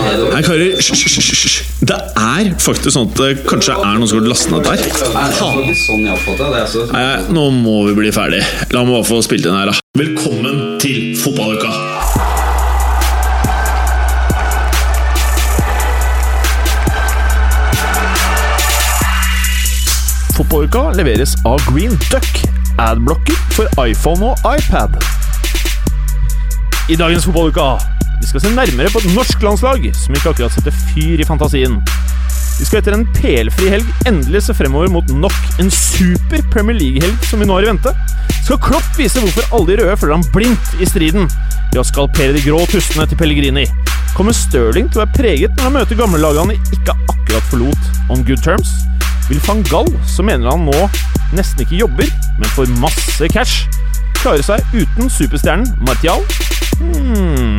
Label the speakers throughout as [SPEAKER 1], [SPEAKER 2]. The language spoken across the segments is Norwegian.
[SPEAKER 1] hører hysj, hysj, hysj, hysj. Det er faktisk sånn at det kanskje er noen som har lastet ned der.
[SPEAKER 2] Det er faktisk sånn jeg oppfatter det. Altså.
[SPEAKER 1] Nei, nå må vi bli ferdig. La meg bare få spilt inn her, da. Velkommen til fotballuka!
[SPEAKER 3] Fotballuka leveres av Green Duck, adblocker for iPhone og iPad. I dagens fotballuka vi skal se nærmere på et norsk landslag som ikke akkurat setter fyr i fantasien. Vi skal etter en pelfri helg endelig se fremover mot nok en super Premier League-helg som vi nå har i vente. Skal Klopp vise hvorfor alle de røde følger ham blindt i striden ved å skalpere de grå tustene til Pellegrini? Kommer Stirling til å være preget når han møter gamlelagene han ikke akkurat forlot on good terms? Vil van Gaal, som mener han nå nesten ikke jobber, men får masse cash, klare seg uten superstjernen Martial? Hmm.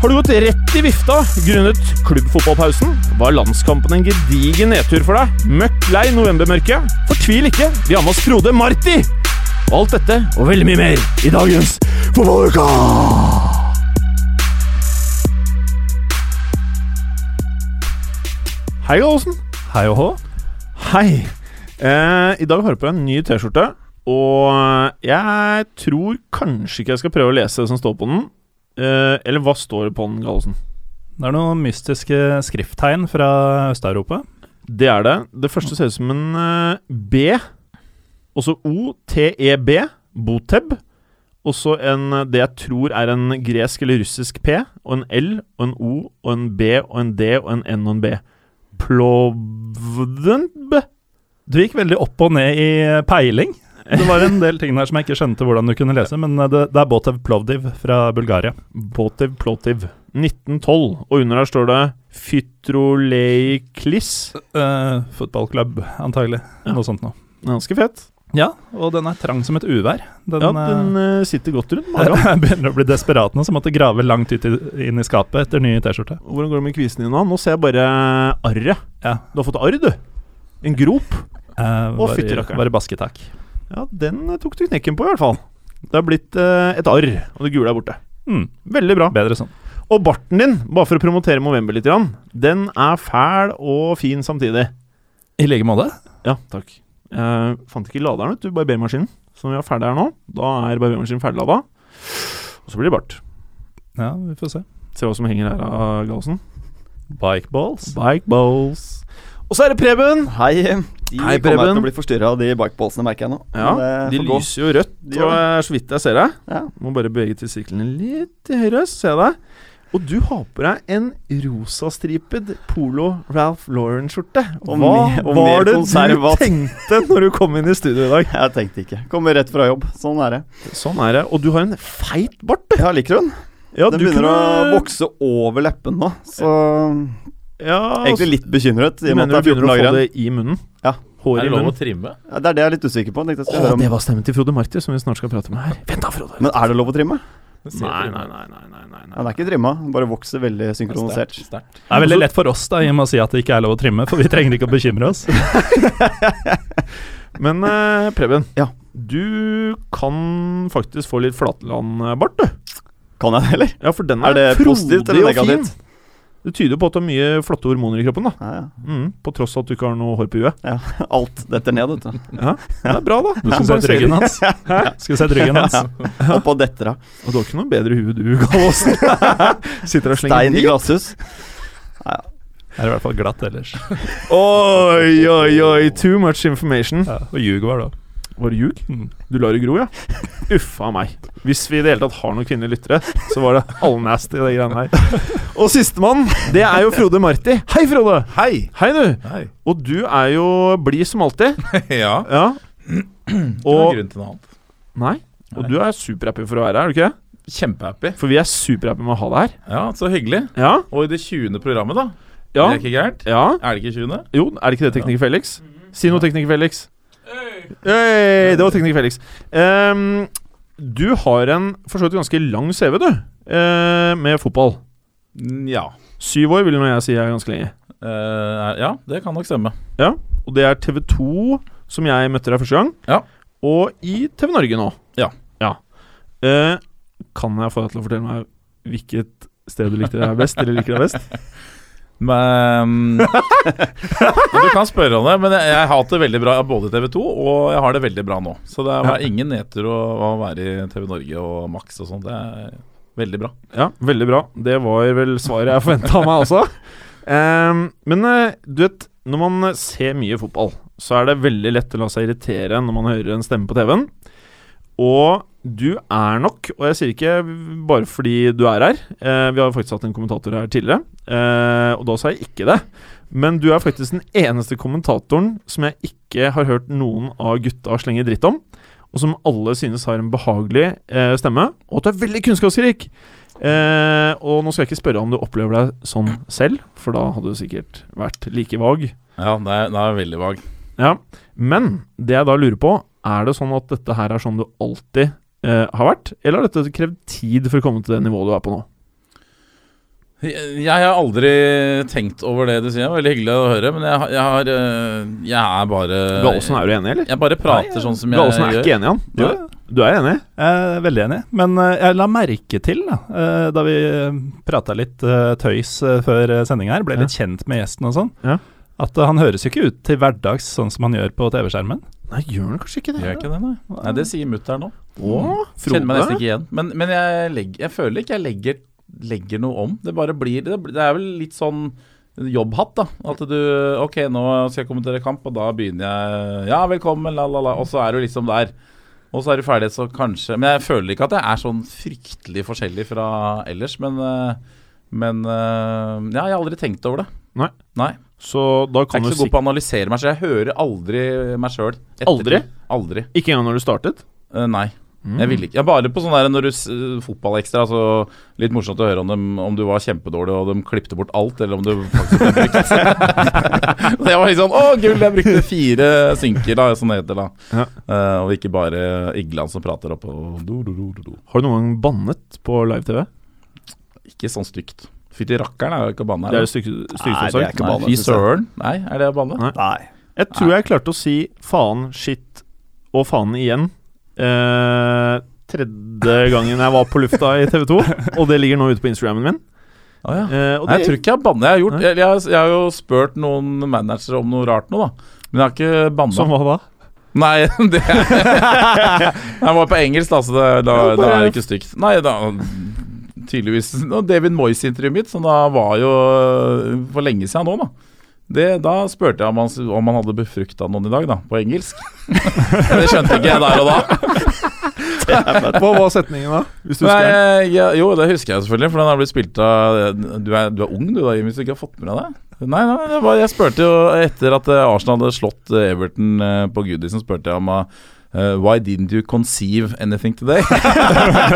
[SPEAKER 3] Har du gått rett i vifta grunnet klubbfotballpausen? Var landskampen en gedigen nedtur for deg? Møkk lei novembermørket? Fortvil ikke, vi har med oss Frode Marti! Og alt dette og veldig mye mer i dagens Fotballuka! Hei, Gallosen.
[SPEAKER 4] Hei og hå.
[SPEAKER 3] Hei! Eh, I dag har jeg på meg en ny T-skjorte, og jeg tror kanskje ikke jeg skal prøve å lese det som står på den. Eh, eller hva står det på den, Gallosen?
[SPEAKER 4] Det er noen mystiske skrifttegn fra Øst-Europa.
[SPEAKER 3] Det er det. Det første ser ut som en eh, B, og så O-T-E-B, Boteb, og så en eh, det jeg tror er en gresk eller russisk P, og en L, og en O, og en B, og en D, og en N og en B. Plovdenb?
[SPEAKER 4] Du gikk veldig opp og ned i peiling. Det var en del ting der som jeg ikke skjønte hvordan du kunne lese, men eh, det, det er Botev Plovdiv fra Bulgaria.
[SPEAKER 3] Botev Plotiv 1912, og under her står det Fytroleiklis.
[SPEAKER 4] Eh, fotballklubb, antagelig.
[SPEAKER 3] Ja.
[SPEAKER 4] Noe sånt noe.
[SPEAKER 3] Ganske fett.
[SPEAKER 4] Ja, og den er trang som et uvær. Den,
[SPEAKER 3] Ja, den eh, sitter godt rundt
[SPEAKER 4] eh,
[SPEAKER 3] magen.
[SPEAKER 4] jeg begynner å bli desperat nå, så måtte grave langt ut i, inn i skapet etter ny T-skjorte.
[SPEAKER 3] Hvordan går det med kvisen din nå? Nå ser jeg bare arret.
[SPEAKER 4] Ja.
[SPEAKER 3] Du har fått arr, du. En grop.
[SPEAKER 4] Uh,
[SPEAKER 3] Å, fytti rakkeren.
[SPEAKER 4] Bare basketak.
[SPEAKER 3] Ja, den eh, tok du knekken på, i hvert fall. Det har blitt eh, et arr, og det gule er borte.
[SPEAKER 4] Mm,
[SPEAKER 3] Veldig bra.
[SPEAKER 4] bedre sånn.
[SPEAKER 3] Og barten din, bare for å promotere Movember litt, grann, den er fæl og fin samtidig.
[SPEAKER 4] I like måte.
[SPEAKER 3] Ja, takk. Jeg fant ikke laderen ut, du, barbermaskinen. Så når vi er ferdig her nå, da er barbermaskinen ferdiglada. Og så blir det bart.
[SPEAKER 4] Ja, vi får se.
[SPEAKER 3] Se hva som henger her av Gallosen.
[SPEAKER 4] Bikeballs.
[SPEAKER 3] Bike balls. Og så er det Preben!
[SPEAKER 5] Hei. De
[SPEAKER 3] Hei,
[SPEAKER 5] kommer jeg
[SPEAKER 3] Preben.
[SPEAKER 5] til å bli forstyrra av de bikeballsene, merker jeg nå.
[SPEAKER 3] Ja,
[SPEAKER 5] Men det
[SPEAKER 3] De
[SPEAKER 5] får Eh, gå.
[SPEAKER 3] lyser jo rødt,
[SPEAKER 5] De gjør
[SPEAKER 3] og eh, så vidt jeg ser deg.
[SPEAKER 5] Ja.
[SPEAKER 3] Må bare bevege testiklene litt til høyre, så ser jeg deg. Og du har på deg en rosastripet Polo Ralph Lauren-skjorte.
[SPEAKER 5] Og
[SPEAKER 3] Hva
[SPEAKER 5] mer- og mer
[SPEAKER 3] var det du
[SPEAKER 5] konservat.
[SPEAKER 3] tenkte når du kom inn i studio i dag?
[SPEAKER 5] Jeg tenkte ikke. Kommer rett fra jobb. Sånn er det.
[SPEAKER 3] Sånn er det. Og du har en feit bart. du.
[SPEAKER 5] Ja, liker hun.
[SPEAKER 3] Ja,
[SPEAKER 5] Den
[SPEAKER 3] du
[SPEAKER 5] begynner
[SPEAKER 3] kunne-
[SPEAKER 5] å vokse over leppen nå, så
[SPEAKER 3] Ja, altså,
[SPEAKER 5] Egentlig litt bekymret, i og med
[SPEAKER 3] Mener
[SPEAKER 5] at
[SPEAKER 3] du
[SPEAKER 5] det
[SPEAKER 3] begynner å
[SPEAKER 5] er 14
[SPEAKER 3] få
[SPEAKER 5] dager
[SPEAKER 3] det
[SPEAKER 5] igjen.
[SPEAKER 3] i munnen?
[SPEAKER 5] Ja.
[SPEAKER 3] Hår i munnen.
[SPEAKER 4] trimme?
[SPEAKER 5] Ja, Det er det jeg er litt usikker på. tenkte jeg
[SPEAKER 3] Å,
[SPEAKER 5] skulle høre om.
[SPEAKER 3] det var stemmen til Frode Marti, som vi snart skal prate med her. Vent da, Frode.
[SPEAKER 5] Men er det lov å trimme?
[SPEAKER 3] Nei, nei, nei. nei, nei, nei,
[SPEAKER 5] Ja, den er ikke trimma, den bare vokser veldig synkronisert.
[SPEAKER 4] Det er
[SPEAKER 6] Altså-
[SPEAKER 4] veldig lett for oss da, i og med å si at det ikke er lov å trimme, for vi trenger ikke å bekymre oss.
[SPEAKER 3] Men eh, Preben,
[SPEAKER 5] Ja.
[SPEAKER 3] du kan faktisk få litt flatlandbart, du.
[SPEAKER 5] Kan jeg det, eller?
[SPEAKER 3] Ja, for den
[SPEAKER 5] Er
[SPEAKER 3] er,
[SPEAKER 5] det
[SPEAKER 3] frodig
[SPEAKER 5] positivt eller
[SPEAKER 3] og fin.
[SPEAKER 5] negativt?
[SPEAKER 3] Det tyder jo på at du har mye flotte hormoner i kroppen, da.
[SPEAKER 5] Ja, ja.
[SPEAKER 3] Mm, på tross av at du ikke har noe hår på huet.
[SPEAKER 5] Alt detter ned, vet du.
[SPEAKER 3] Ja, Det er bra, da.
[SPEAKER 4] Du skulle sett ryggen hans. Skulle sett ryggen hans.
[SPEAKER 5] Opp og detter av.
[SPEAKER 3] Og du har ikke noe bedre hue, du, Gallosen. Sitter og slenger
[SPEAKER 5] Stein i
[SPEAKER 3] dritt.
[SPEAKER 5] glasshus.
[SPEAKER 4] Er i hvert fall glatt ellers.
[SPEAKER 3] Oi, oi, oi. Too much information.
[SPEAKER 4] Ja, og ljug var det òg.
[SPEAKER 3] Var det ljug?
[SPEAKER 4] Mm.
[SPEAKER 3] Du lar det gro, ja? Uffa meg. Hvis vi i det hele tatt har noen kvinnelige lyttere, så var det allnasty, de greiene her. Og sistemann, det er jo Frode Marti. Hei, Frode!
[SPEAKER 6] Hei!
[SPEAKER 3] Hei, du!
[SPEAKER 6] Hei.
[SPEAKER 3] Og du er jo blid som alltid.
[SPEAKER 6] ja.
[SPEAKER 3] Ja.
[SPEAKER 6] Det var
[SPEAKER 3] Og
[SPEAKER 6] grunn til noe annet.
[SPEAKER 3] Nei. Og du er superhappy for å være her, er du ikke? det?
[SPEAKER 6] Kjempehappy.
[SPEAKER 3] For vi er superhappy med å ha deg her.
[SPEAKER 6] Ja, så hyggelig.
[SPEAKER 3] Ja.
[SPEAKER 6] Og i det 20. programmet, da.
[SPEAKER 3] Ja.
[SPEAKER 6] Det er ikke gærent?
[SPEAKER 3] ja.
[SPEAKER 6] Er det ikke 20.?
[SPEAKER 3] Jo, er det ikke det Tekniker Felix? Si noe, Tekniker Felix. Hey, det var Tekniker Felix. Ehm, du har en for så vidt ganske lang CV, du, eh, med fotball.
[SPEAKER 6] Ja.
[SPEAKER 3] Syv år vil nå jeg si er ganske lenge.
[SPEAKER 6] Eh, ja, det kan nok stemme.
[SPEAKER 3] Og det er TV2 som jeg møtte deg første gang.
[SPEAKER 6] Ja.
[SPEAKER 3] Og i TV Norge nå.
[SPEAKER 6] Ja.
[SPEAKER 3] Eh, kan jeg få deg til å fortelle meg hvilket sted du likte deg best? Eller liker deg best?
[SPEAKER 6] Men Du kan spørre om det, men jeg, jeg har hatt det veldig bra både TV 2 og jeg har det veldig bra nå. Så det er ingen nedtur å, å være i TV Norge og Max og sånn. Det er veldig bra.
[SPEAKER 3] Ja, veldig bra. Det var vel svaret jeg forventa av meg også. Ehm, men eh, du vet, når man ser mye fotball, så er det veldig lett å la seg irritere når man hører en stemme på TV-en. Og du er nok, og jeg sier ikke bare fordi du er her eh, Vi har faktisk hatt en kommentator her tidligere, eh, og da sa jeg ikke det. Men du er faktisk den eneste kommentatoren som jeg ikke har hørt noen av gutta slenge dritt om. Og som alle synes har en behagelig eh, stemme, og at du er veldig kunnskapsrik. Eh, og nå skal jeg ikke spørre om du opplever deg sånn selv, for da hadde du sikkert vært like vag.
[SPEAKER 6] Ja, det er, det er veldig vag.
[SPEAKER 3] Ja. Men det jeg da lurer på, er det sånn at dette her er sånn du alltid eh, har vært, eller har dette krevd tid for å komme til det nivået du er på nå?
[SPEAKER 6] Jeg, jeg har aldri tenkt over det du sier. Veldig hyggelig å høre, men jeg, har- jeg har øh, Jeg er bare
[SPEAKER 3] Gallosen, er du enig, eller?
[SPEAKER 6] Jeg bare prater sånn som Eh, jeg
[SPEAKER 3] Gallosen er
[SPEAKER 6] gjør.
[SPEAKER 3] ikke enig, han.
[SPEAKER 4] Jo,
[SPEAKER 3] Du, du er enig?
[SPEAKER 4] Jeg er veldig enig, men eh, jeg la merke til da, eh, da vi prata litt eh, tøys eh, før sendinga her, ble litt kjent med gjesten og sånn,
[SPEAKER 3] Ja.
[SPEAKER 4] at eh, han høres jo ikke ut til hverdags sånn som han gjør på TV-skjermen.
[SPEAKER 3] Nei, gjør han kanskje ikke det?
[SPEAKER 6] Gjør jeg ikke det, nei? nei det sier mutter'n nå.
[SPEAKER 3] Å,
[SPEAKER 6] Kjenner meg nesten
[SPEAKER 3] Frode?
[SPEAKER 6] ikke igjen. Men, men jeg, legg- jeg føler ikke jeg legger, legger noe om. Det bare blir Det det er vel litt sånn jobbhatt, da. At du Ok, nå skal jeg kommentere kamp, og da begynner jeg Ja, velkommen, la, la, la. Og så er du liksom der. Og så er du ferdig, så kanskje Men jeg føler ikke at jeg er sånn fryktelig forskjellig fra ellers, men eh, men eh, ja, jeg har aldri tenkt over det.
[SPEAKER 3] Nei.
[SPEAKER 6] Nei.
[SPEAKER 3] Så da
[SPEAKER 6] Jeg er
[SPEAKER 3] kan du
[SPEAKER 6] ikke så god
[SPEAKER 3] sikkert
[SPEAKER 6] på å analysere meg selv. Jeg hører aldri meg sjøl.
[SPEAKER 3] Aldri?
[SPEAKER 6] Aldri.
[SPEAKER 3] Ikke engang når du startet?
[SPEAKER 6] Eh, nei. Jeg ville ikke. Jeg bare på sånn der når du s- Fotballekstra, altså litt morsomt å høre om dem om du var kjempedårlig og de klipte bort alt, eller om du faktisk ble brukt. det var liksom Å, gull! Jeg brukte fire synker, da, som det heter da.
[SPEAKER 3] Ja.
[SPEAKER 6] Eh, og ikke bare Igland som prater oppe og do, do, do, do, do.
[SPEAKER 3] Mm. Har du noen gang bannet på live-TV?
[SPEAKER 6] Ikke sånn stygt. Fytti rakkeren er jo ikke å banne
[SPEAKER 3] Det er
[SPEAKER 6] her.
[SPEAKER 3] jo stygt
[SPEAKER 5] Nei, det er
[SPEAKER 3] sagt.
[SPEAKER 5] ikke banne,
[SPEAKER 6] Nei, Fy
[SPEAKER 5] synes jeg.
[SPEAKER 6] søren. Nei, er det å banne?
[SPEAKER 3] Nei.
[SPEAKER 5] Nei.
[SPEAKER 3] Jeg tror jeg klarte å si faen, shit og faen igjen eh, tredje gangen jeg var på lufta i TV 2. Og det ligger nå ute på Instagrammen min.
[SPEAKER 6] Å, ja.
[SPEAKER 3] Eh, og
[SPEAKER 6] Ah. Nei, jeg tror
[SPEAKER 3] det,
[SPEAKER 6] ikke jeg har bannet. Jeg har, gjort,
[SPEAKER 3] Nei.
[SPEAKER 6] jeg, jeg, har, jeg har jo spurt noen managere om noe rart nå, da. Men jeg har ikke banna.
[SPEAKER 3] som hva da?
[SPEAKER 6] Nei, det Han var på engelsk, da, så det, da,
[SPEAKER 3] Ja, bare-
[SPEAKER 6] da er det ikke stygt. Nei, da Tydeligvis. Og David Moyes-intervjuet mitt, som da var jo for lenge siden nå, da. Det, da spurte jeg om han, om han hadde befrukta noen i dag, da, på engelsk. det skjønte ikke jeg der og da.
[SPEAKER 3] Hva var setningen da? Hvis du husker den?
[SPEAKER 6] Nei, ja, jo, det husker jeg selvfølgelig, for den har blitt spilt av Du er, du er ung du, da, Jimmy, hvis du ikke har fått med deg det? Nei, nei, det var, jeg spurte jo etter at eh, Arsenal hadde slått eh, Everton eh, på Goodison, spurte jeg om eh, Why didn't you conceive anything today?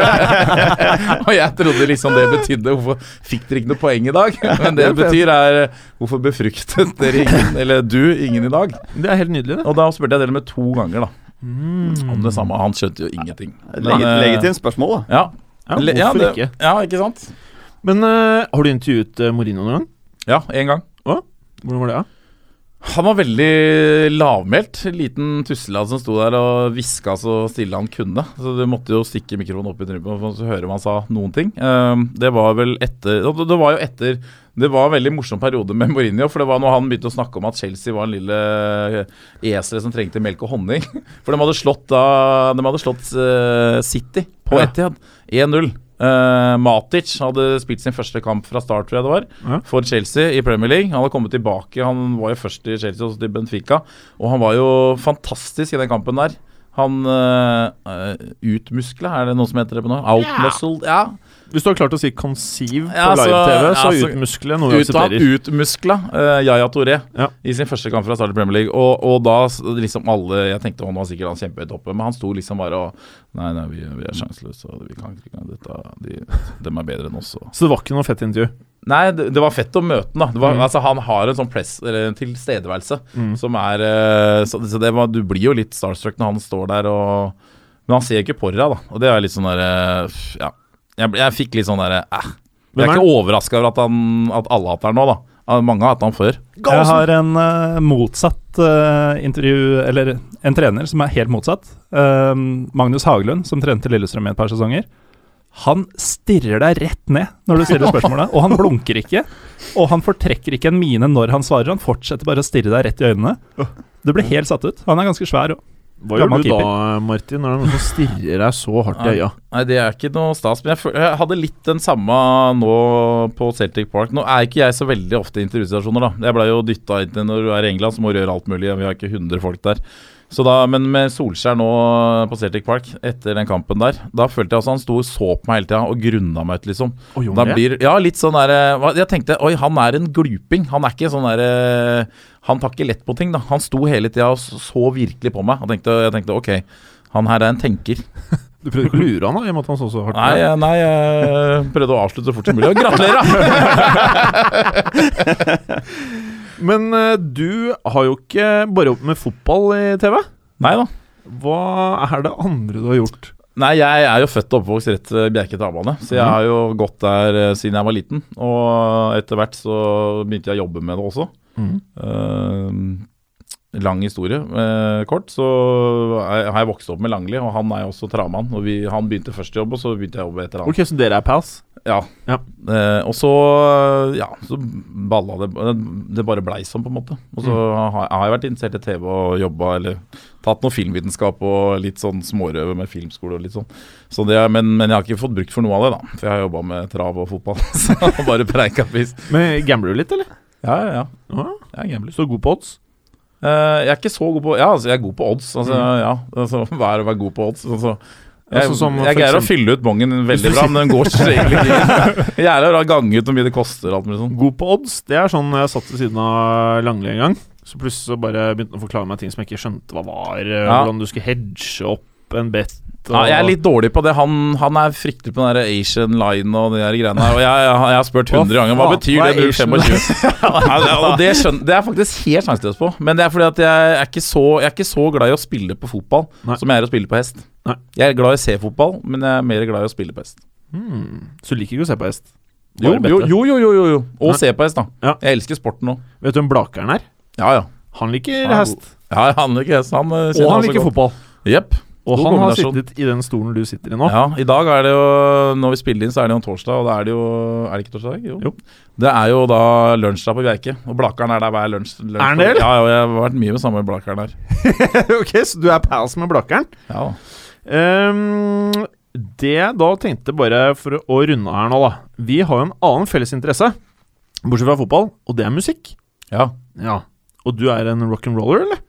[SPEAKER 6] og jeg trodde liksom det betydde Hvorfor fikk dere ikke noe poeng i dag? Men det det betyr er eh, Hvorfor befruktet dere ingen, eller du, ingen i dag?
[SPEAKER 3] Det er helt nydelig, det.
[SPEAKER 6] Og da spurte jeg dere med to ganger, da. Om det samme. Han skjønte jo ingenting. Men,
[SPEAKER 5] Legit,
[SPEAKER 6] eh,
[SPEAKER 5] legitimt spørsmål, da.
[SPEAKER 6] Ja,
[SPEAKER 3] Ja,
[SPEAKER 6] Le-
[SPEAKER 3] hvorfor
[SPEAKER 6] ja, det-
[SPEAKER 3] ikke?
[SPEAKER 6] Ja, ikke sant?
[SPEAKER 3] Men eh, har du intervjuet eh, Mourinho noen gang?
[SPEAKER 6] Ja, én gang.
[SPEAKER 3] Hvordan var det? da?
[SPEAKER 6] Han var veldig lavmælt. Liten tusseladd som sto der og hviska så stille han kunne. Så du måtte jo stikke mikrofonen opp i trynet for å høre om han sa noen ting. Ehm, Det var vel etter og Det det var jo etter Det var en veldig morsom periode med Mourinho. For det var når han begynte å snakke om at Chelsea var en lille eselet som trengte melk og honning. For de hadde slått, da, de hadde slått eh, City på
[SPEAKER 3] Ja.
[SPEAKER 6] Etihad 1-0. Eh, Matic hadde spilt sin første kamp fra start, tror jeg det var for Chelsea i Premier League. Han har kommet tilbake. Han var jo først i Chelsea og så til Benfica. Og han var jo fantastisk i den kampen der. Han uh, utmuskla, er det noe som heter det på nå? Outmuscled? Ja.
[SPEAKER 3] Hvis du har klart å si 'conceive' på
[SPEAKER 6] Ja, altså, så-
[SPEAKER 3] live-TV, så
[SPEAKER 6] ja, så-
[SPEAKER 3] er utmuskle noe vi
[SPEAKER 6] Ut, han
[SPEAKER 3] aksepterer.
[SPEAKER 6] utmuskla eh, Yaya Touré
[SPEAKER 3] Ja.
[SPEAKER 6] i sin første kamp fra start i Premier League. Og, og da s- liksom alle Jeg tenkte han var sikkert han kjempehøyt oppe, men han sto liksom bare og Nei, nei, vi, vi er sjanseløse, og vi kan ikke dette. De, dem er bedre enn oss. Og.
[SPEAKER 3] Så det var ikke noe fett intervju.
[SPEAKER 6] Nei, det, det var fett å møte ham, da. Det var, altså, han har en sånn press, eller en tilstedeværelse som er eh, Så, så det var, du blir jo litt starstruck når han står der og Men han ser ikke på deg, da. Og det er litt sånn derre Ja. Jeg, ble- jeg fikk litt sånn derre eh. Jeg
[SPEAKER 3] Hvem
[SPEAKER 6] er
[SPEAKER 3] er
[SPEAKER 6] ikke overraska over at, han, at alle hater han nå, da. Ah, Mange har hatt han før.
[SPEAKER 4] Jeg har en eh, motsatt eh, intervju, eller Ehm, en trener som er helt motsatt. Eh, Magnus Haglund, som trente Lillestrøm i et par sesonger. Han stirrer deg rett ned når du stiller spørsmålet, og han blunker ikke. Og han fortrekker ikke en mine når han svarer, han fortsetter bare å stirre deg rett i øynene. Du blir helt satt ut. Han er ganske svær òg.
[SPEAKER 3] Hva gjør
[SPEAKER 4] Gammel
[SPEAKER 3] du da, Martin, når det er noen som stirrer deg så hardt i øya?
[SPEAKER 6] Nei, det er ikke noe stas. Men jeg, føl- jeg hadde litt den samme nå på Celtic Park. Nå er ikke jeg så veldig ofte i intervjustasjoner, da. Jeg blei jo dytta inn til når du er i England, så må du gjøre alt mulig. Vi har ikke 100 folk der. Så da, men med Solskjær nå på Celtic Park, etter den kampen der, da følte jeg også han sto og så på meg hele tida og grunna meg ut, liksom. Da blir, ja, litt sånn der, eh, hva- Jeg tenkte oi, han er en gluping. Han er ikke sånn der eh, Han tar ikke lett på ting, da. Han sto hele tida og s- så virkelig på meg. Og tenkte, jeg tenkte ok, han her er en tenker.
[SPEAKER 3] Du prøvde ikke å lure han da, i og med at han så så hardt?
[SPEAKER 6] Nei, eh, nei, jeg prøvde å avslutte så fort som mulig. Og gratulerer, da!
[SPEAKER 3] Men eh, du har jo ikke bare jobbet med fotball i TV.
[SPEAKER 6] Nei da.
[SPEAKER 3] Hva er det andre du har gjort?
[SPEAKER 6] Nei, jeg er jo født og oppvokst rett ved Bjerke tabane, så jeg har jo gått der eh, siden jeg var liten. Og etter hvert så begynte jeg å jobbe med det også. Eh, lang historie, eh, kort. Så er- har jeg vokst opp med Langli, og han er jo også travmann. Og vi, han begynte først å jobbe, og så begynte jeg å jobbe etter han.
[SPEAKER 3] Ok, så dere er pals?
[SPEAKER 6] Ja.
[SPEAKER 3] Ja.
[SPEAKER 6] Eh, og så, ja, så balla det Det bare blei sånn, på en måte. Og så
[SPEAKER 3] Mm.
[SPEAKER 6] har, har jeg vært interessert i TV og jobba eller tatt noe filmvitenskap og litt sånn smårøve med filmskole og litt sånn. Så det, er- men, men jeg har ikke fått bruk for noe av det, da. For jeg har jobba med trav og fotball. Så bare preika piss.
[SPEAKER 3] Men Gambler du litt, eller?
[SPEAKER 6] Ja, ja, ja.
[SPEAKER 3] Ja.
[SPEAKER 6] Jeg er gambler.
[SPEAKER 3] Så god på odds?
[SPEAKER 6] Eh, jeg er ikke så god på Ja, altså, jeg er god på odds. Altså, ja, altså, hva er det å være god på odds? Altså, jeg,
[SPEAKER 3] Mm. Altså, som
[SPEAKER 6] jeg
[SPEAKER 3] for
[SPEAKER 6] greier å
[SPEAKER 3] eksempel-
[SPEAKER 6] fylle ut bongen veldig bra, men den går så egentlig ikke. Jeg greier å gange ut hvor mye det koster og alt mulig sånn.
[SPEAKER 3] God på odds, det er sånn jeg satt ved siden av Langli en gang. Så plutselig så bare begynte han å forklare meg ting som jeg ikke skjønte hva var. eh,
[SPEAKER 6] Ja.
[SPEAKER 3] Hvordan du skulle hedge opp en bet. og-
[SPEAKER 6] Ja, jeg er litt dårlig på det. Han, han er fryktelig på den der Asian line og de der greiene her. Og jeg, jeg, har- jeg har spurt 100 ganger hva
[SPEAKER 3] faen?
[SPEAKER 6] betyr
[SPEAKER 3] Hva er
[SPEAKER 6] det du
[SPEAKER 3] Asian
[SPEAKER 6] 25? Ja, det- og det, skjønner, det er jeg faktisk helt sjanseløs på. Men det er fordi at jeg er ikke så, jeg er ikke så glad i å spille på fotball
[SPEAKER 3] Nei.
[SPEAKER 6] som jeg er å spille på hest.
[SPEAKER 3] Nei.
[SPEAKER 6] Jeg er glad i å se fotball, men jeg er mer glad i å spille på hest.
[SPEAKER 3] Hmm, Så liker ikke å se på hest.
[SPEAKER 6] Jo,
[SPEAKER 3] Bare
[SPEAKER 6] jo,
[SPEAKER 3] bette.
[SPEAKER 6] jo, jo, jo, jo, jo. Og
[SPEAKER 3] Nei.
[SPEAKER 6] se på hest, da.
[SPEAKER 3] Ja.
[SPEAKER 6] Jeg elsker sporten òg.
[SPEAKER 3] Vet du hvem Blakeren er?
[SPEAKER 6] Ja, ja.
[SPEAKER 3] Han liker
[SPEAKER 6] Han er
[SPEAKER 3] hest.
[SPEAKER 6] ja. Han liker hest. Han eh, kjenner
[SPEAKER 3] Og han
[SPEAKER 6] også
[SPEAKER 3] liker
[SPEAKER 6] godt.
[SPEAKER 3] fotball.
[SPEAKER 6] Jepp.
[SPEAKER 3] Og
[SPEAKER 6] God
[SPEAKER 3] han har
[SPEAKER 6] kombinasjon.
[SPEAKER 3] sittet i den stolen du sitter i nå.
[SPEAKER 6] Ja, i dag er det jo Når vi spiller inn, så er det jo en torsdag, og da er det jo Er det ikke torsdag? i dag? Jo.
[SPEAKER 3] Jo.
[SPEAKER 6] Det er jo da lunsj da på Bjerke, og Blakeren er der hver lunsj. lunsj
[SPEAKER 3] Er han det, eller?
[SPEAKER 6] Ja, ja, og jeg har vært mye med samme Blakeren der.
[SPEAKER 3] ok, Så du er pals med Blakeren?
[SPEAKER 6] Ja da.
[SPEAKER 3] Ehm, det jeg da tenkte bare for å runde her nå, da. Vi har jo en annen felles interesse, bortsett fra fotball, og det er musikk.
[SPEAKER 6] Ja.
[SPEAKER 3] Ja. Og du er en rock'n'roller, eller?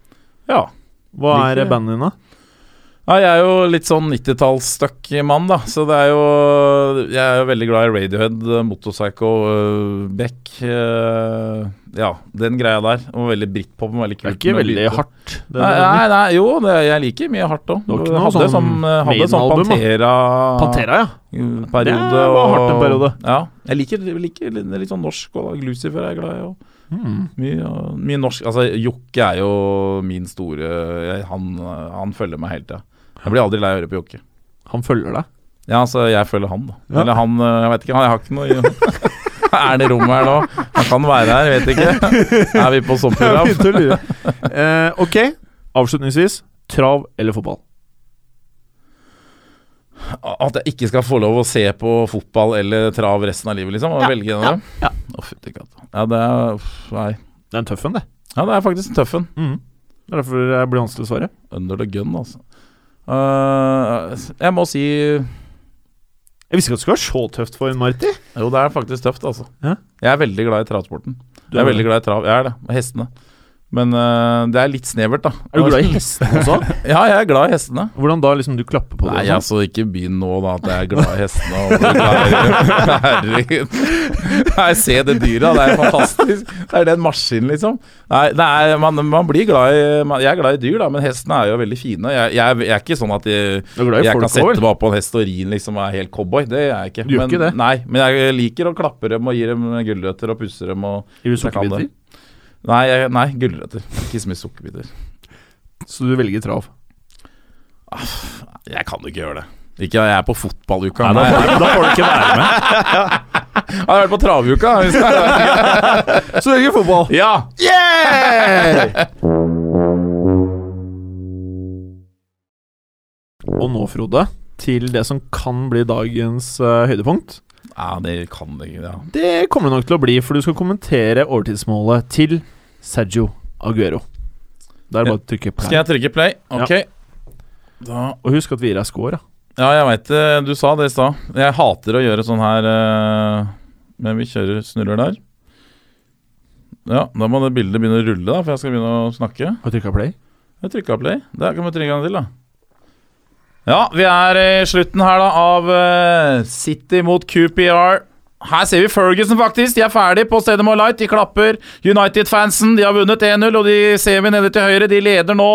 [SPEAKER 6] ja.
[SPEAKER 3] Hva
[SPEAKER 6] Liker
[SPEAKER 3] er
[SPEAKER 6] det.
[SPEAKER 3] bandet ditt, da?
[SPEAKER 6] Ja, jeg er jo litt sånn 90-tallsstuck-mann, da. Så det er jo Jeg er jo veldig glad i Radiohead, eh, Motorpsycho, eh, Beck eh, Ja, den greia der. Og veldig britpop. og Veldig
[SPEAKER 3] Det
[SPEAKER 6] kult.
[SPEAKER 3] er ikke
[SPEAKER 6] med
[SPEAKER 3] veldig
[SPEAKER 6] lyder.
[SPEAKER 3] hardt. Det,
[SPEAKER 6] Nei, nei, nei, jo, det, jeg liker mye hardt òg.
[SPEAKER 3] Det var ikke noe
[SPEAKER 6] Hadde
[SPEAKER 3] sånn
[SPEAKER 6] sånn, hadde sånn
[SPEAKER 3] Maiden-album, da.
[SPEAKER 6] Pantera
[SPEAKER 3] Pantera, ja.
[SPEAKER 6] periode.
[SPEAKER 3] Det var
[SPEAKER 6] og-
[SPEAKER 3] hardt en periode.
[SPEAKER 6] Ja. Jeg liker, liker litt, litt sånn norsk, og da Lucifer er jeg glad i. Og
[SPEAKER 3] Hmm.
[SPEAKER 6] mye, og mye norsk. Altså, Jokke er jo min store jeg, han, han følger meg hele tida. Jeg blir aldri lei av å høre på Jokke.
[SPEAKER 3] Han følger deg.
[SPEAKER 6] Ja, altså, jeg følger han, da.
[SPEAKER 3] Ja.
[SPEAKER 6] Eller han eh, Jeg vet ikke, han, jeg har ikke noe Er det rom her nå? Han kan være her, jeg vet ikke. Er vi på sånn program?
[SPEAKER 3] Jeg begynte å lure. Eh, ok, avslutningsvis. Trav eller fotball?
[SPEAKER 6] At jeg ikke skal få lov å se på fotball eller trav resten av livet, liksom? Og
[SPEAKER 3] Ja,
[SPEAKER 6] velge en av
[SPEAKER 3] ja,
[SPEAKER 6] dem?
[SPEAKER 3] ja.
[SPEAKER 6] Å, fytti katta. Ja, det er uff, Nei.
[SPEAKER 3] Det er en tøff en, det.
[SPEAKER 6] Ja, det er faktisk en tøff en.
[SPEAKER 3] Hmm. Det er derfor jeg blir vanskelig å svare.
[SPEAKER 6] Under the gun, altså. Eh, jeg må si Jo,
[SPEAKER 3] Jeg visste ikke at det skulle være så tøft for Marty.
[SPEAKER 6] det er faktisk tøft, altså.
[SPEAKER 3] Ja.
[SPEAKER 6] Jeg er veldig glad i travsporten.
[SPEAKER 3] Du
[SPEAKER 6] Jeg er
[SPEAKER 3] er
[SPEAKER 6] veldig glad i trav. Jeg er det. Og hestene. Men eh, det er litt snevert, da.
[SPEAKER 3] Er du glad i hestene også?
[SPEAKER 6] Ja, jeg er glad i hestene.
[SPEAKER 3] Hvordan da liksom du klapper på
[SPEAKER 6] Nei,
[SPEAKER 3] det? og sånn?
[SPEAKER 6] altså, ikke begynn nå da at jeg er glad i hestene. Og blir glad i, herregud. Nei, se det dyret, det er fantastisk. Det er den maskinen, liksom. Nei, det er, man, man blir glad i man, Jeg er glad i dyr, da, men hestene er jo veldig fine. Jeg, jeg, jeg er ikke sånn at jeg,
[SPEAKER 3] Du er glad i
[SPEAKER 6] jeg
[SPEAKER 3] folk
[SPEAKER 6] kan sette
[SPEAKER 3] også, vel?
[SPEAKER 6] meg opp på en hest og ri den liksom og er helt cowboy. Det er jeg ikke.
[SPEAKER 3] Du gjør
[SPEAKER 6] men,
[SPEAKER 3] ikke det?
[SPEAKER 6] Nei, men jeg liker å klappe dem og gi dem gulrøtter og pusse dem og
[SPEAKER 3] Gir du
[SPEAKER 6] jeg kan
[SPEAKER 3] sukkerbiter?
[SPEAKER 6] det. Nei, jeg- nei gulrøtter. Ikke så mye sukkerbiter.
[SPEAKER 3] Så du velger trav?
[SPEAKER 6] Jeg kan jo ikke gjøre det. Ikke jeg er på fotballuka.
[SPEAKER 4] Da
[SPEAKER 6] Nei,
[SPEAKER 4] får, da får du ikke være med.
[SPEAKER 6] Jeg har vært på travuka. hvis jeg-
[SPEAKER 3] Så velger fotball!
[SPEAKER 6] Ja!
[SPEAKER 3] Og nå, Frode, til det som kan bli dagens eh, høydepunkt.
[SPEAKER 6] Ja, det kan det ikke. Ja.
[SPEAKER 3] Det kommer det nok til å bli, for du skal kommentere overtidsmålet til Sergio Aguero. Det er det bare å trykke
[SPEAKER 6] Skal
[SPEAKER 3] play.
[SPEAKER 6] jeg trykke play? Ok. Da
[SPEAKER 3] Og husk at Vira scorer. da.
[SPEAKER 6] Ja, jeg veit det. Du sa det i stad. Jeg hater å gjøre sånn her, eh, men vi kjører snurrer der. Ja, da må det bildet begynne å rulle, da, for jeg skal begynne å snakke.
[SPEAKER 3] Har du trykka play?
[SPEAKER 6] Jeg trykka play. Der kan vi trykke en gang til, da. Ja, vi er i slutten her, da, av eh, City mot QPR. Her ser vi Ferguson, faktisk. De er ferdig på stedet med Light. De klapper United-fansen. De har vunnet 1-0, og de ser vi nede til høyre. De leder nå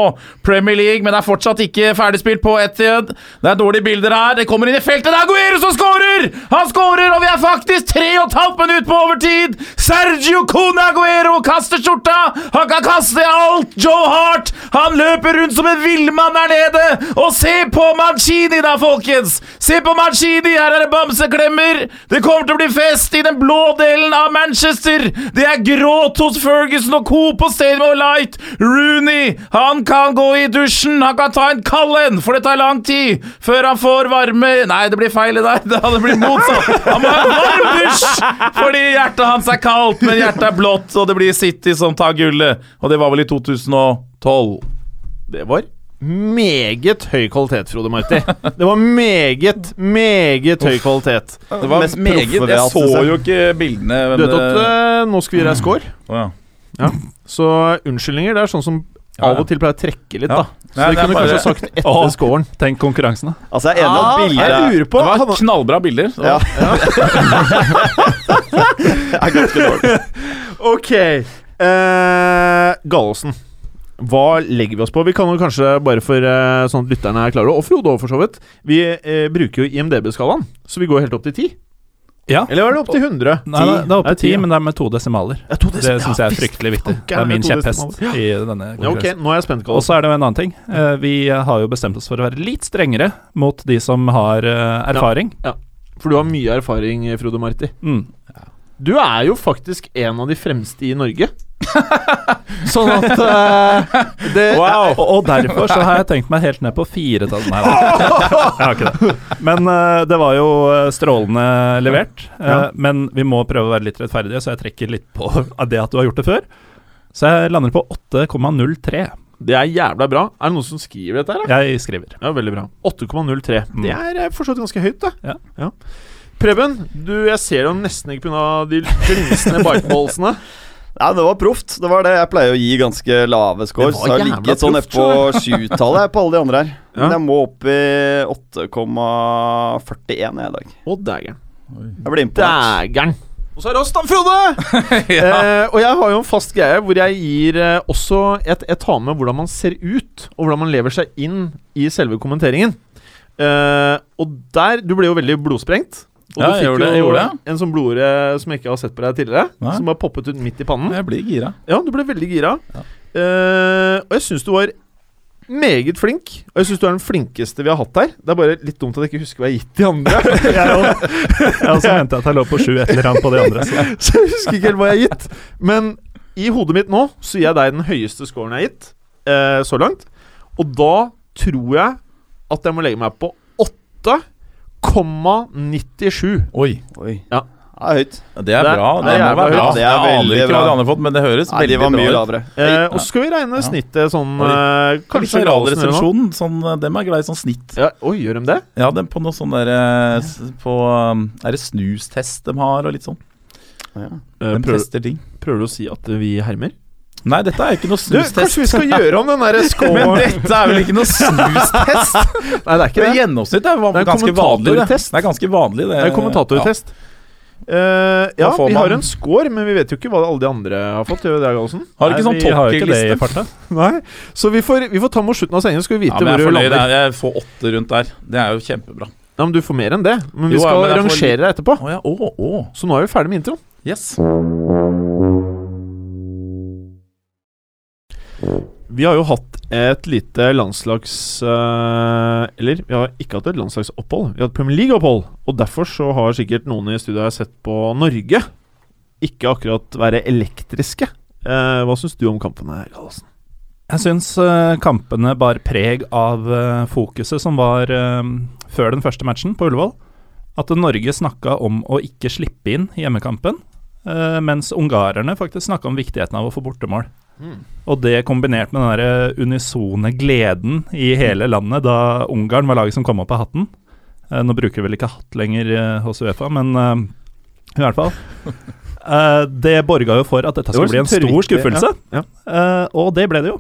[SPEAKER 6] Premier League, men er fortsatt ikke ferdigspilt på Etiad. Det er dårlige bilder her. Det kommer inn i feltet. Det er Aguero som skårer! Han skårer, og vi er faktisk tre og et halvt minutt på overtid! Sergio Cone Aguero kaster skjorta! Han kan kaste alt! Joe Hart! Han løper rundt som en villmann der nede! Og se på Mancini, da, folkens! Se på Mancini! Her er det bamseklemmer! Det kommer til å bli fest i den blå delen av Manchester! Det er gråt hos Ferguson og co. på Stadium of Light! Rooney, han kan gå i dusjen! Han kan ta en kald en, for det tar lang tid før han får varme Nei, det blir feil det der. Det hadde blitt motsatt. Han må ha en varm dusj fordi hjertet hans er kaldt, men hjertet er blått, og det blir City som tar gullet. Og det var vel i 2012.
[SPEAKER 3] Det var meget høy kvalitet, Frode Marti. Det var meget, meget høy kvalitet.
[SPEAKER 6] Det var
[SPEAKER 5] Mest proffe altså, ved alt, synes jeg.
[SPEAKER 6] jo ikke bildene. Men,
[SPEAKER 3] Du vet at eh, nå skal vi gi deg score,
[SPEAKER 6] Å, ja.
[SPEAKER 3] så unnskyldninger det er sånn som
[SPEAKER 6] Ja, ja.
[SPEAKER 3] av og til pleier å trekke litt,
[SPEAKER 6] Ja.
[SPEAKER 3] da. Så
[SPEAKER 6] Nei,
[SPEAKER 3] vi
[SPEAKER 6] det er
[SPEAKER 3] kunne
[SPEAKER 6] bare-
[SPEAKER 3] kanskje ha sagt etter
[SPEAKER 4] Åh.
[SPEAKER 3] scoren.
[SPEAKER 4] Tenk konkurransen, da.
[SPEAKER 5] Altså, jeg er enig i at bildet
[SPEAKER 3] Ah, Jeg lurer på
[SPEAKER 6] Det var
[SPEAKER 4] sånn-
[SPEAKER 3] han,
[SPEAKER 6] knallbra bilder. Det var-
[SPEAKER 5] Ja. er ganske dårlig.
[SPEAKER 3] Ok. Uh, Gallosen. Hva legger vi oss på? Vi kan jo kanskje, bare for eh, sånn at lytterne er klare, og Frode òg, for så vidt Vi eh, bruker jo IMDb-skalaen, så vi går helt opp til 10.
[SPEAKER 4] Ja.
[SPEAKER 3] Eller er det opp til 100?
[SPEAKER 4] Nei, det er opp til ti,
[SPEAKER 3] ja.
[SPEAKER 4] men det er med to desimaler.
[SPEAKER 3] Ja, to
[SPEAKER 4] Det syns jeg er
[SPEAKER 3] visst.
[SPEAKER 4] fryktelig viktig.
[SPEAKER 3] Fanken,
[SPEAKER 4] Det er min
[SPEAKER 3] to
[SPEAKER 4] kjepphest
[SPEAKER 3] desimaler.
[SPEAKER 4] i denne
[SPEAKER 3] Ja, ok,
[SPEAKER 4] konkurransen.
[SPEAKER 3] nå er jeg spent,
[SPEAKER 4] Og
[SPEAKER 3] Gallosen.
[SPEAKER 4] så er det jo en annen ting. Eh, Vi har jo bestemt oss for å være litt strengere mot de som har eh, erfaring.
[SPEAKER 3] For du har mye erfaring, eh, Frode Marti.
[SPEAKER 4] Mm.
[SPEAKER 3] Du er jo faktisk en av de fremste i Norge. sånn at eh, det
[SPEAKER 4] Og, og derfor så har jeg tenkt meg helt ned på fire tall. Nei, nei. Jeg har ikke det. Men eh, det var jo eh, strålende levert. Eh,
[SPEAKER 3] Ja.
[SPEAKER 4] Men vi må prøve å være litt rettferdige, så jeg trekker litt på av det at du har gjort det før. Så jeg lander på 8,03.
[SPEAKER 3] Det er jævla bra. Er det noen som skriver dette her, da?
[SPEAKER 4] Jeg skriver.
[SPEAKER 3] Ja, veldig bra. 8,03.
[SPEAKER 4] Mm.
[SPEAKER 3] Det er eh, fortsatt ganske høyt, da.
[SPEAKER 4] Ja.
[SPEAKER 3] Preben, du, jeg ser deg nesten ikke pga. de glinsende bikeballsene.
[SPEAKER 5] Nei, det var proft. Det var det. Jeg pleier å gi ganske lave score.
[SPEAKER 3] Det var
[SPEAKER 5] Så jeg har
[SPEAKER 3] jævla
[SPEAKER 5] ligget sånn
[SPEAKER 3] proft,
[SPEAKER 5] nedpå sjutallet jeg, på alle de andre her.
[SPEAKER 3] Ja.
[SPEAKER 5] Men jeg må opp i 8,41 jeg i dag.
[SPEAKER 3] Å, dægeren.
[SPEAKER 5] Jeg ble imponert.
[SPEAKER 3] Dægeren. Og så er det oss, da, Frode!
[SPEAKER 6] Ja.
[SPEAKER 3] eh, og jeg har jo en fast greie hvor jeg gir eh, også et, Jeg tar med hvordan man ser ut, og hvordan man lever seg inn i selve kommenteringen. Eh, og der Du ble jo veldig blodsprengt. Og du
[SPEAKER 6] Ja, jeg
[SPEAKER 3] fikk
[SPEAKER 6] gjorde det, jeg
[SPEAKER 3] jo
[SPEAKER 6] gjorde
[SPEAKER 3] en sånn blodåre som jeg ikke har sett på deg tidligere.
[SPEAKER 6] Nei.
[SPEAKER 3] Som bare poppet ut midt i pannen.
[SPEAKER 6] Jeg blir gira.
[SPEAKER 3] Ja, du ble veldig gira.
[SPEAKER 6] Ja.
[SPEAKER 3] Eh, og jeg syns du var meget flink. Og jeg syns du er den flinkeste vi har hatt her. Det er bare litt dumt at jeg ikke husker hva jeg har gitt de andre.
[SPEAKER 4] Jeg også, jeg også mente at jeg lå på sju et eller annet på de andre. Så.
[SPEAKER 3] Så jeg husker ikke helt hva jeg har gitt. Men i hodet mitt nå så gir jeg deg den høyeste scoren jeg har gitt eh, så langt. Og da tror jeg at jeg må legge meg på 8,97.
[SPEAKER 6] Oi.
[SPEAKER 5] Oi.
[SPEAKER 3] Ja.
[SPEAKER 5] Ja, høyt.
[SPEAKER 6] Det er
[SPEAKER 3] Det er-
[SPEAKER 6] bra. Det,
[SPEAKER 3] det er jævla
[SPEAKER 6] må være bra.
[SPEAKER 5] høyt. Det er
[SPEAKER 6] Jeg aner
[SPEAKER 5] veldig
[SPEAKER 6] ikke hva
[SPEAKER 5] bra.
[SPEAKER 6] de andre har fått, men det høres
[SPEAKER 5] Nei, de
[SPEAKER 6] veldig
[SPEAKER 5] var mye
[SPEAKER 6] bra ut.
[SPEAKER 5] lavere.
[SPEAKER 3] Eh, og så skal vi regne snittet sånn eh,
[SPEAKER 6] Kanskje
[SPEAKER 3] Kanskje Galesen eller noe.
[SPEAKER 6] Generalresepsjonen. Sånn, eh, dem er glad i sånn snitt.
[SPEAKER 3] Ja, Oi, gjør de det?
[SPEAKER 6] Ja, dem på noe sånn der eh, s- På um, Er det snustest de har, og litt sånn?
[SPEAKER 5] Ja.
[SPEAKER 6] De
[SPEAKER 3] Eh, prøver,
[SPEAKER 6] tester ting.
[SPEAKER 3] prøver du å si at vi hermer?
[SPEAKER 6] Nei, dette er jo ikke noe
[SPEAKER 3] Du, kanskje vi
[SPEAKER 6] snustest.
[SPEAKER 3] skal gjøre om den der
[SPEAKER 6] Men
[SPEAKER 3] scoren
[SPEAKER 6] dette er vel ikke noe snustest?
[SPEAKER 3] Nei, det er ikke
[SPEAKER 6] Det
[SPEAKER 3] det.
[SPEAKER 6] gjennomsnitt er
[SPEAKER 3] Det er
[SPEAKER 6] jo
[SPEAKER 3] kommentatortest.
[SPEAKER 6] ganske vanlig. Det. det er ganske vanlig, det.
[SPEAKER 3] Det er kommentatortest. Eh, ja,
[SPEAKER 6] Da får
[SPEAKER 3] vi har
[SPEAKER 6] man-
[SPEAKER 3] en score, men vi vet jo ikke hva alle de andre har fått. Gjør vi det, Gallosen?
[SPEAKER 6] Ja. Har du ikke
[SPEAKER 4] Nei,
[SPEAKER 6] sånn
[SPEAKER 4] vi har jo ikke det i
[SPEAKER 6] tokkerliste?
[SPEAKER 4] farta.
[SPEAKER 3] Nei. Så vi får, vi får ta mot slutten av sendingen, så skal vi
[SPEAKER 6] Ja,
[SPEAKER 3] vite
[SPEAKER 6] men
[SPEAKER 3] hvor
[SPEAKER 6] jeg, er
[SPEAKER 3] du
[SPEAKER 6] fornøyd.
[SPEAKER 3] lander.
[SPEAKER 6] Jeg- jeg får åtte rundt der. Det er jo kjempebra.
[SPEAKER 3] Ja, men du får mer enn det. Men
[SPEAKER 6] Jo,
[SPEAKER 3] vi
[SPEAKER 6] ja,
[SPEAKER 3] skal
[SPEAKER 6] men jeg får
[SPEAKER 3] rangere deg etterpå.
[SPEAKER 6] Å ja. Å, å.
[SPEAKER 3] Så nå er vi ferdig med introen.
[SPEAKER 6] Yes.
[SPEAKER 3] Vi har jo hatt et lite landslags... eh, eller, vi har ikke hatt et landslagsopphold. Vi har hatt Premier League-opphold. Og derfor så har sikkert noen i studio her sett på Norge ikke akkurat være elektriske. Eh, hva syns du om kampene, Gallosen?
[SPEAKER 4] Jeg syns eh, kampene bar preg av eh, fokuset som var eh, før den første matchen på Ullevål, at Norge snakka om å ikke slippe inn i hjemmekampen, eh, mens ungarerne faktisk snakka om viktigheten av å få bortemål. Og det kombinert med den der eh, unisone gleden i hele landet da Ungarn var laget som kom opp av hatten. Eh, Nå bruker vi vel ikke hatt lenger eh, hos Uefa, men eh, i hvert fall. Eh, det borga jo for at dette
[SPEAKER 3] Det var
[SPEAKER 4] skulle bli en
[SPEAKER 3] sånn tørke,
[SPEAKER 4] stor skuffelse.
[SPEAKER 3] ja,
[SPEAKER 4] Eh, og det ble det jo.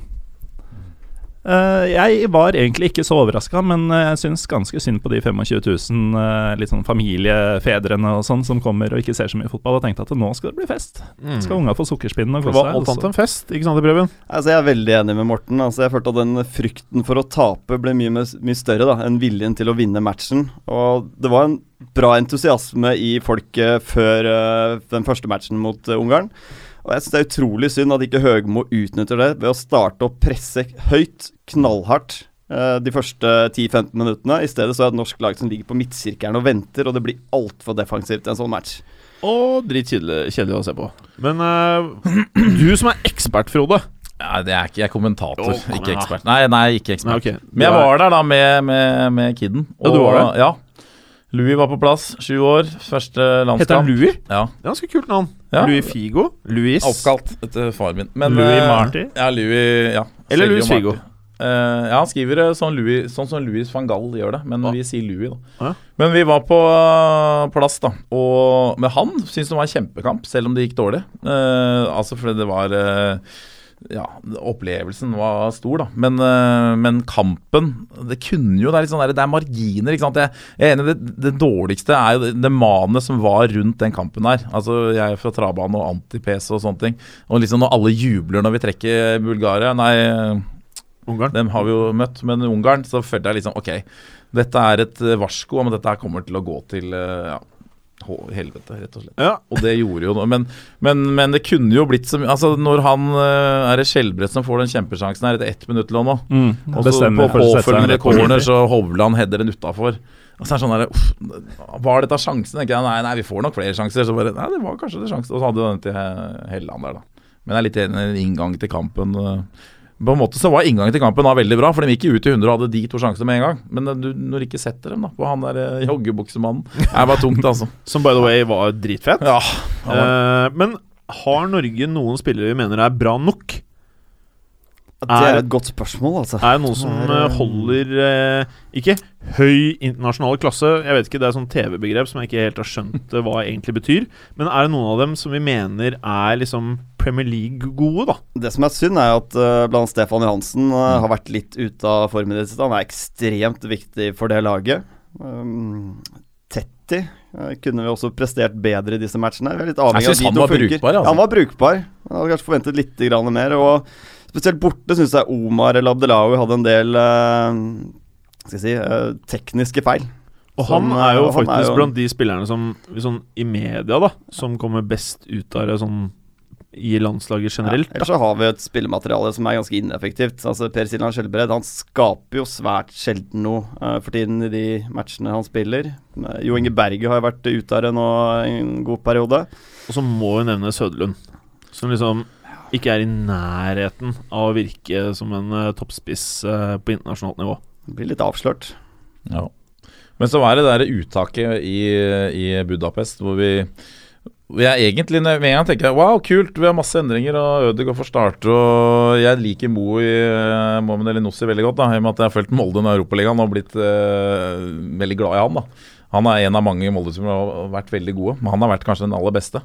[SPEAKER 4] Eh, jeg var egentlig ikke så overraska, men eh, jeg syns ganske synd på de 25 000 eh, litt sånn familiefedrene og sånn som kommer og ikke ser så mye fotball, og tenkte at nå skal det bli fest.
[SPEAKER 3] Mm.
[SPEAKER 4] Skal unga få sukkerspinnen og
[SPEAKER 3] For det
[SPEAKER 4] kose
[SPEAKER 3] var
[SPEAKER 4] seg.
[SPEAKER 3] alt
[SPEAKER 4] og
[SPEAKER 3] annet
[SPEAKER 4] så-
[SPEAKER 3] enn fest, ikke sant, i Preben?
[SPEAKER 5] Altså, jeg er veldig enig med Morten. Altså, jeg følte at den frykten for å tape ble mye, mes- mye større da, enn viljen til å vinne matchen. Og det var en bra entusiasme i folket før eh, den første matchen mot eh, Ungarn. Og jeg synes Det er utrolig synd at ikke Høgmo utnytter det ved å starte å presse høyt, knallhardt, eh, de første 10-15 minuttene. I stedet så er det et norsk lag som ligger på midtsirkelen og venter, og det blir altfor defensivt i en sånn match.
[SPEAKER 1] Og dritkjedelig kjedelig å se på.
[SPEAKER 3] Men eh, du som er ekspert, Frode
[SPEAKER 6] Nei, det er ikke, jeg er kommentator,
[SPEAKER 1] Å, kom
[SPEAKER 6] ikke
[SPEAKER 1] igjen, da.
[SPEAKER 6] ekspert. Nei, nei, ikke ekspert.
[SPEAKER 1] Nei, ok.
[SPEAKER 6] Men jeg var der da med, med, med kiden.
[SPEAKER 1] Ja, du var
[SPEAKER 6] det? Ja. Louis var på plass, sju år, første
[SPEAKER 3] Heter han
[SPEAKER 6] landskamp.
[SPEAKER 3] Louis?
[SPEAKER 6] Ja.
[SPEAKER 3] Ganske kult navn.
[SPEAKER 6] Ja.
[SPEAKER 3] Louis Figo. Louis
[SPEAKER 6] Oppkalt etter faren min. Men,
[SPEAKER 4] Louis
[SPEAKER 6] eh,
[SPEAKER 4] Marty?
[SPEAKER 6] Ja, Louis, ja.
[SPEAKER 3] Eller
[SPEAKER 6] Sergio
[SPEAKER 3] Louis Figo.
[SPEAKER 6] Marty. Eh, ja, han skriver det sånn, Louis, sånn som Louis van Gaal gjør det, men
[SPEAKER 3] Ja.
[SPEAKER 6] vi sier Louis, da.
[SPEAKER 3] Ja.
[SPEAKER 6] Men vi var på eh, plass, da. Og men han syntes det var en kjempekamp, selv om det gikk dårlig. Eh, altså fordi det var eh, ja, opplevelsen var stor, da. Men, eh, men kampen Det kunne jo Det er litt sånn der, det er marginer, ikke sant. Jeg, jeg er enig, det, det dårligste er jo det, det manet som var rundt den kampen der. Altså, jeg er fra travbanen og anti-PC og sånne ting. Og liksom når alle jubler når vi trekker Bulgaria Nei,
[SPEAKER 3] Ungarn.
[SPEAKER 6] dem har vi jo møtt, men Ungarn så følte jeg liksom OK, dette er et eh, varsko om at dette her kommer til å gå til eh, ja, hå- helvete, rett og slett.
[SPEAKER 3] Ja.
[SPEAKER 6] Og det gjorde jo noe. Men, men, men det kunne jo blitt så mye Altså, når han eh, er det Skjelbredt som får den kjempesjansen her etter ett minutt eller noe,
[SPEAKER 4] Mm,
[SPEAKER 6] og så
[SPEAKER 4] bestemmer
[SPEAKER 6] på
[SPEAKER 4] for å sette seg
[SPEAKER 6] påfølgende
[SPEAKER 4] ned på
[SPEAKER 6] corner
[SPEAKER 4] midten.
[SPEAKER 6] så Hovland header den utafor. Og så er det sånn der, uff, Var dette sjansen? Tenker jeg, nei, nei, vi får nok flere sjanser. Så bare, nei, det var kanskje det sjansen. Og så hadde vi den til eh, Helland der, da. Men jeg er litt enig i inngang til kampen. eh. På en måte så var inngangen til kampen da veldig bra, for de gikk jo ut i 100 og hadde de to sjansene med en gang. Men eh, du, når du ikke setter dem da, på han der eh, joggebuksemannen Det var tungt, altså.
[SPEAKER 3] Som by the way var dritfett.
[SPEAKER 6] Ja, han var
[SPEAKER 3] Eh, men har Norge noen spillere vi mener er bra nok?
[SPEAKER 5] Det
[SPEAKER 3] Er-
[SPEAKER 5] er et godt spørsmål, altså.
[SPEAKER 3] Er det noen som eh, holder eh, ikke høy internasjonal klasse Jeg vet ikke, det er sånn TV-begrep som jeg ikke helt har skjønt eh, hva egentlig betyr. Men er det noen av dem som vi mener er liksom Premier League-gode, da?
[SPEAKER 5] Det som er synd, er at uh, blant annet Stefan Johansen
[SPEAKER 6] Mm.
[SPEAKER 5] eh, har vært litt ute av formen i det siste. Han er ekstremt viktig for det laget. Um, Tetti eh, kunne vi også prestert bedre i disse matchene. Vi er litt avhengig
[SPEAKER 6] Jeg
[SPEAKER 5] av
[SPEAKER 6] synes
[SPEAKER 5] de
[SPEAKER 6] han
[SPEAKER 5] to
[SPEAKER 6] var
[SPEAKER 5] funker.
[SPEAKER 6] brukbar, altså.
[SPEAKER 5] Ja, han var brukbar. Jeg hadde kanskje forventet litt grann mer. Og spesielt borte syns jeg Omar eller Abdelawi hadde en del eh, skal jeg si, eh, tekniske feil.
[SPEAKER 3] Og
[SPEAKER 5] Som,
[SPEAKER 3] han er jo
[SPEAKER 5] eh, han er
[SPEAKER 3] faktisk
[SPEAKER 5] jo-
[SPEAKER 3] blant de spillerne som sånn, i media da som kommer best ut av det sånn i landslaget generelt.
[SPEAKER 5] Ja, ellers så har vi et spillemateriale som er ganske ineffektivt. Altså Per Siljan Skjelbred han skaper jo svært sjelden noe eh, for tiden i de matchene han spiller. Eh, Jo Inge Berge har jo vært ute av det nå en god periode.
[SPEAKER 3] Og så må vi nevne Søderlund, som liksom ikke er i nærheten av å virke som en eh, toppspiss eh, på internasjonalt nivå.
[SPEAKER 5] Blir litt avslørt.
[SPEAKER 6] Ja. Men så var det det der uttaket i, i Budapest hvor vi jeg egentlig, Med en gang tenker jeg wow, kult, vi har masse endringer, og Ødegaard får starte. Og jeg liker Mo i eh, Mohamed Elinossi veldig godt, da, i og med at jeg har fulgt Molde i Europaligaen og blitt eh, veldig glad i han. da. Han er en av mange i Molde som har vært veldig gode, men han har vært kanskje den aller beste.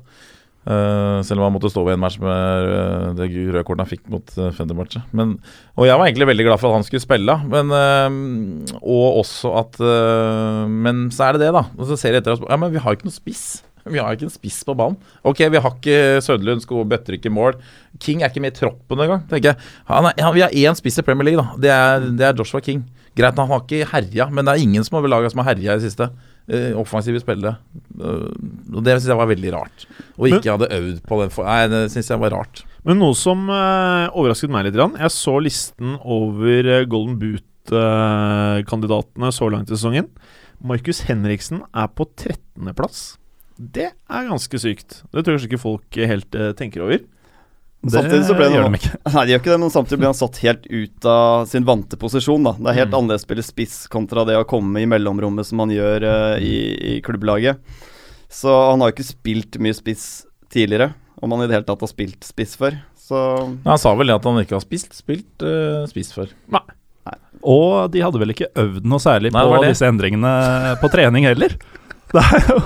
[SPEAKER 6] Eh, selv om han måtte stå ved en match med eh, det røde kortet han fikk mot uh, Fenerbahçe. Men og jeg var egentlig veldig glad for at han skulle spille, men, øhm, og også at øh, Men så er det det, da. Og så ser jeg etter oss Ja, men vi har ikke noen spiss. Vi har ikke en spiss på banen. Ok, vi har ikke Søderlund, Sko bøtter ikke i mål. King er ikke med i troppen engang, tenker jeg. Han er, ja, vi har én spiss i Premier League, da. Det er, det er Joshua King. Greit, han har ikke herja, men det er ingen som har laga som har herja i det siste. Eh, offensive spillere. Eh, og det syns jeg var veldig rart. Og
[SPEAKER 3] Men-
[SPEAKER 6] ikke hadde øvd på den for... Nei, det syns jeg var rart.
[SPEAKER 3] Men noe som eh, overrasket meg litt grann, Jeg så listen over eh, Golden Boot-kandidatene så langt i sesongen. Markus Henriksen er på 13.-plass. Det er ganske sykt. Det tror jeg kanskje ikke folk eh, helt eh, tenker over.
[SPEAKER 5] Samtidig så ble det
[SPEAKER 4] gjør
[SPEAKER 5] noe-
[SPEAKER 4] de ikke.
[SPEAKER 5] Nei, de gjør ikke det, men samtidig blir han satt helt ut av sin vante posisjon. da. Det er helt annerledes å spille spiss kontra det å komme i mellomrommet som han gjør eh, i, i klubblaget. Så han har jo ikke spilt mye spiss tidligere, om han i det hele tatt har spilt spiss før. Så
[SPEAKER 6] Nei, han sa vel det at han ikke har spist, spilt eh, spist før.
[SPEAKER 4] Og de hadde vel ikke øvd noe særlig
[SPEAKER 6] Nei, det var
[SPEAKER 4] på
[SPEAKER 6] det.
[SPEAKER 4] disse endringene på trening heller. Det er jo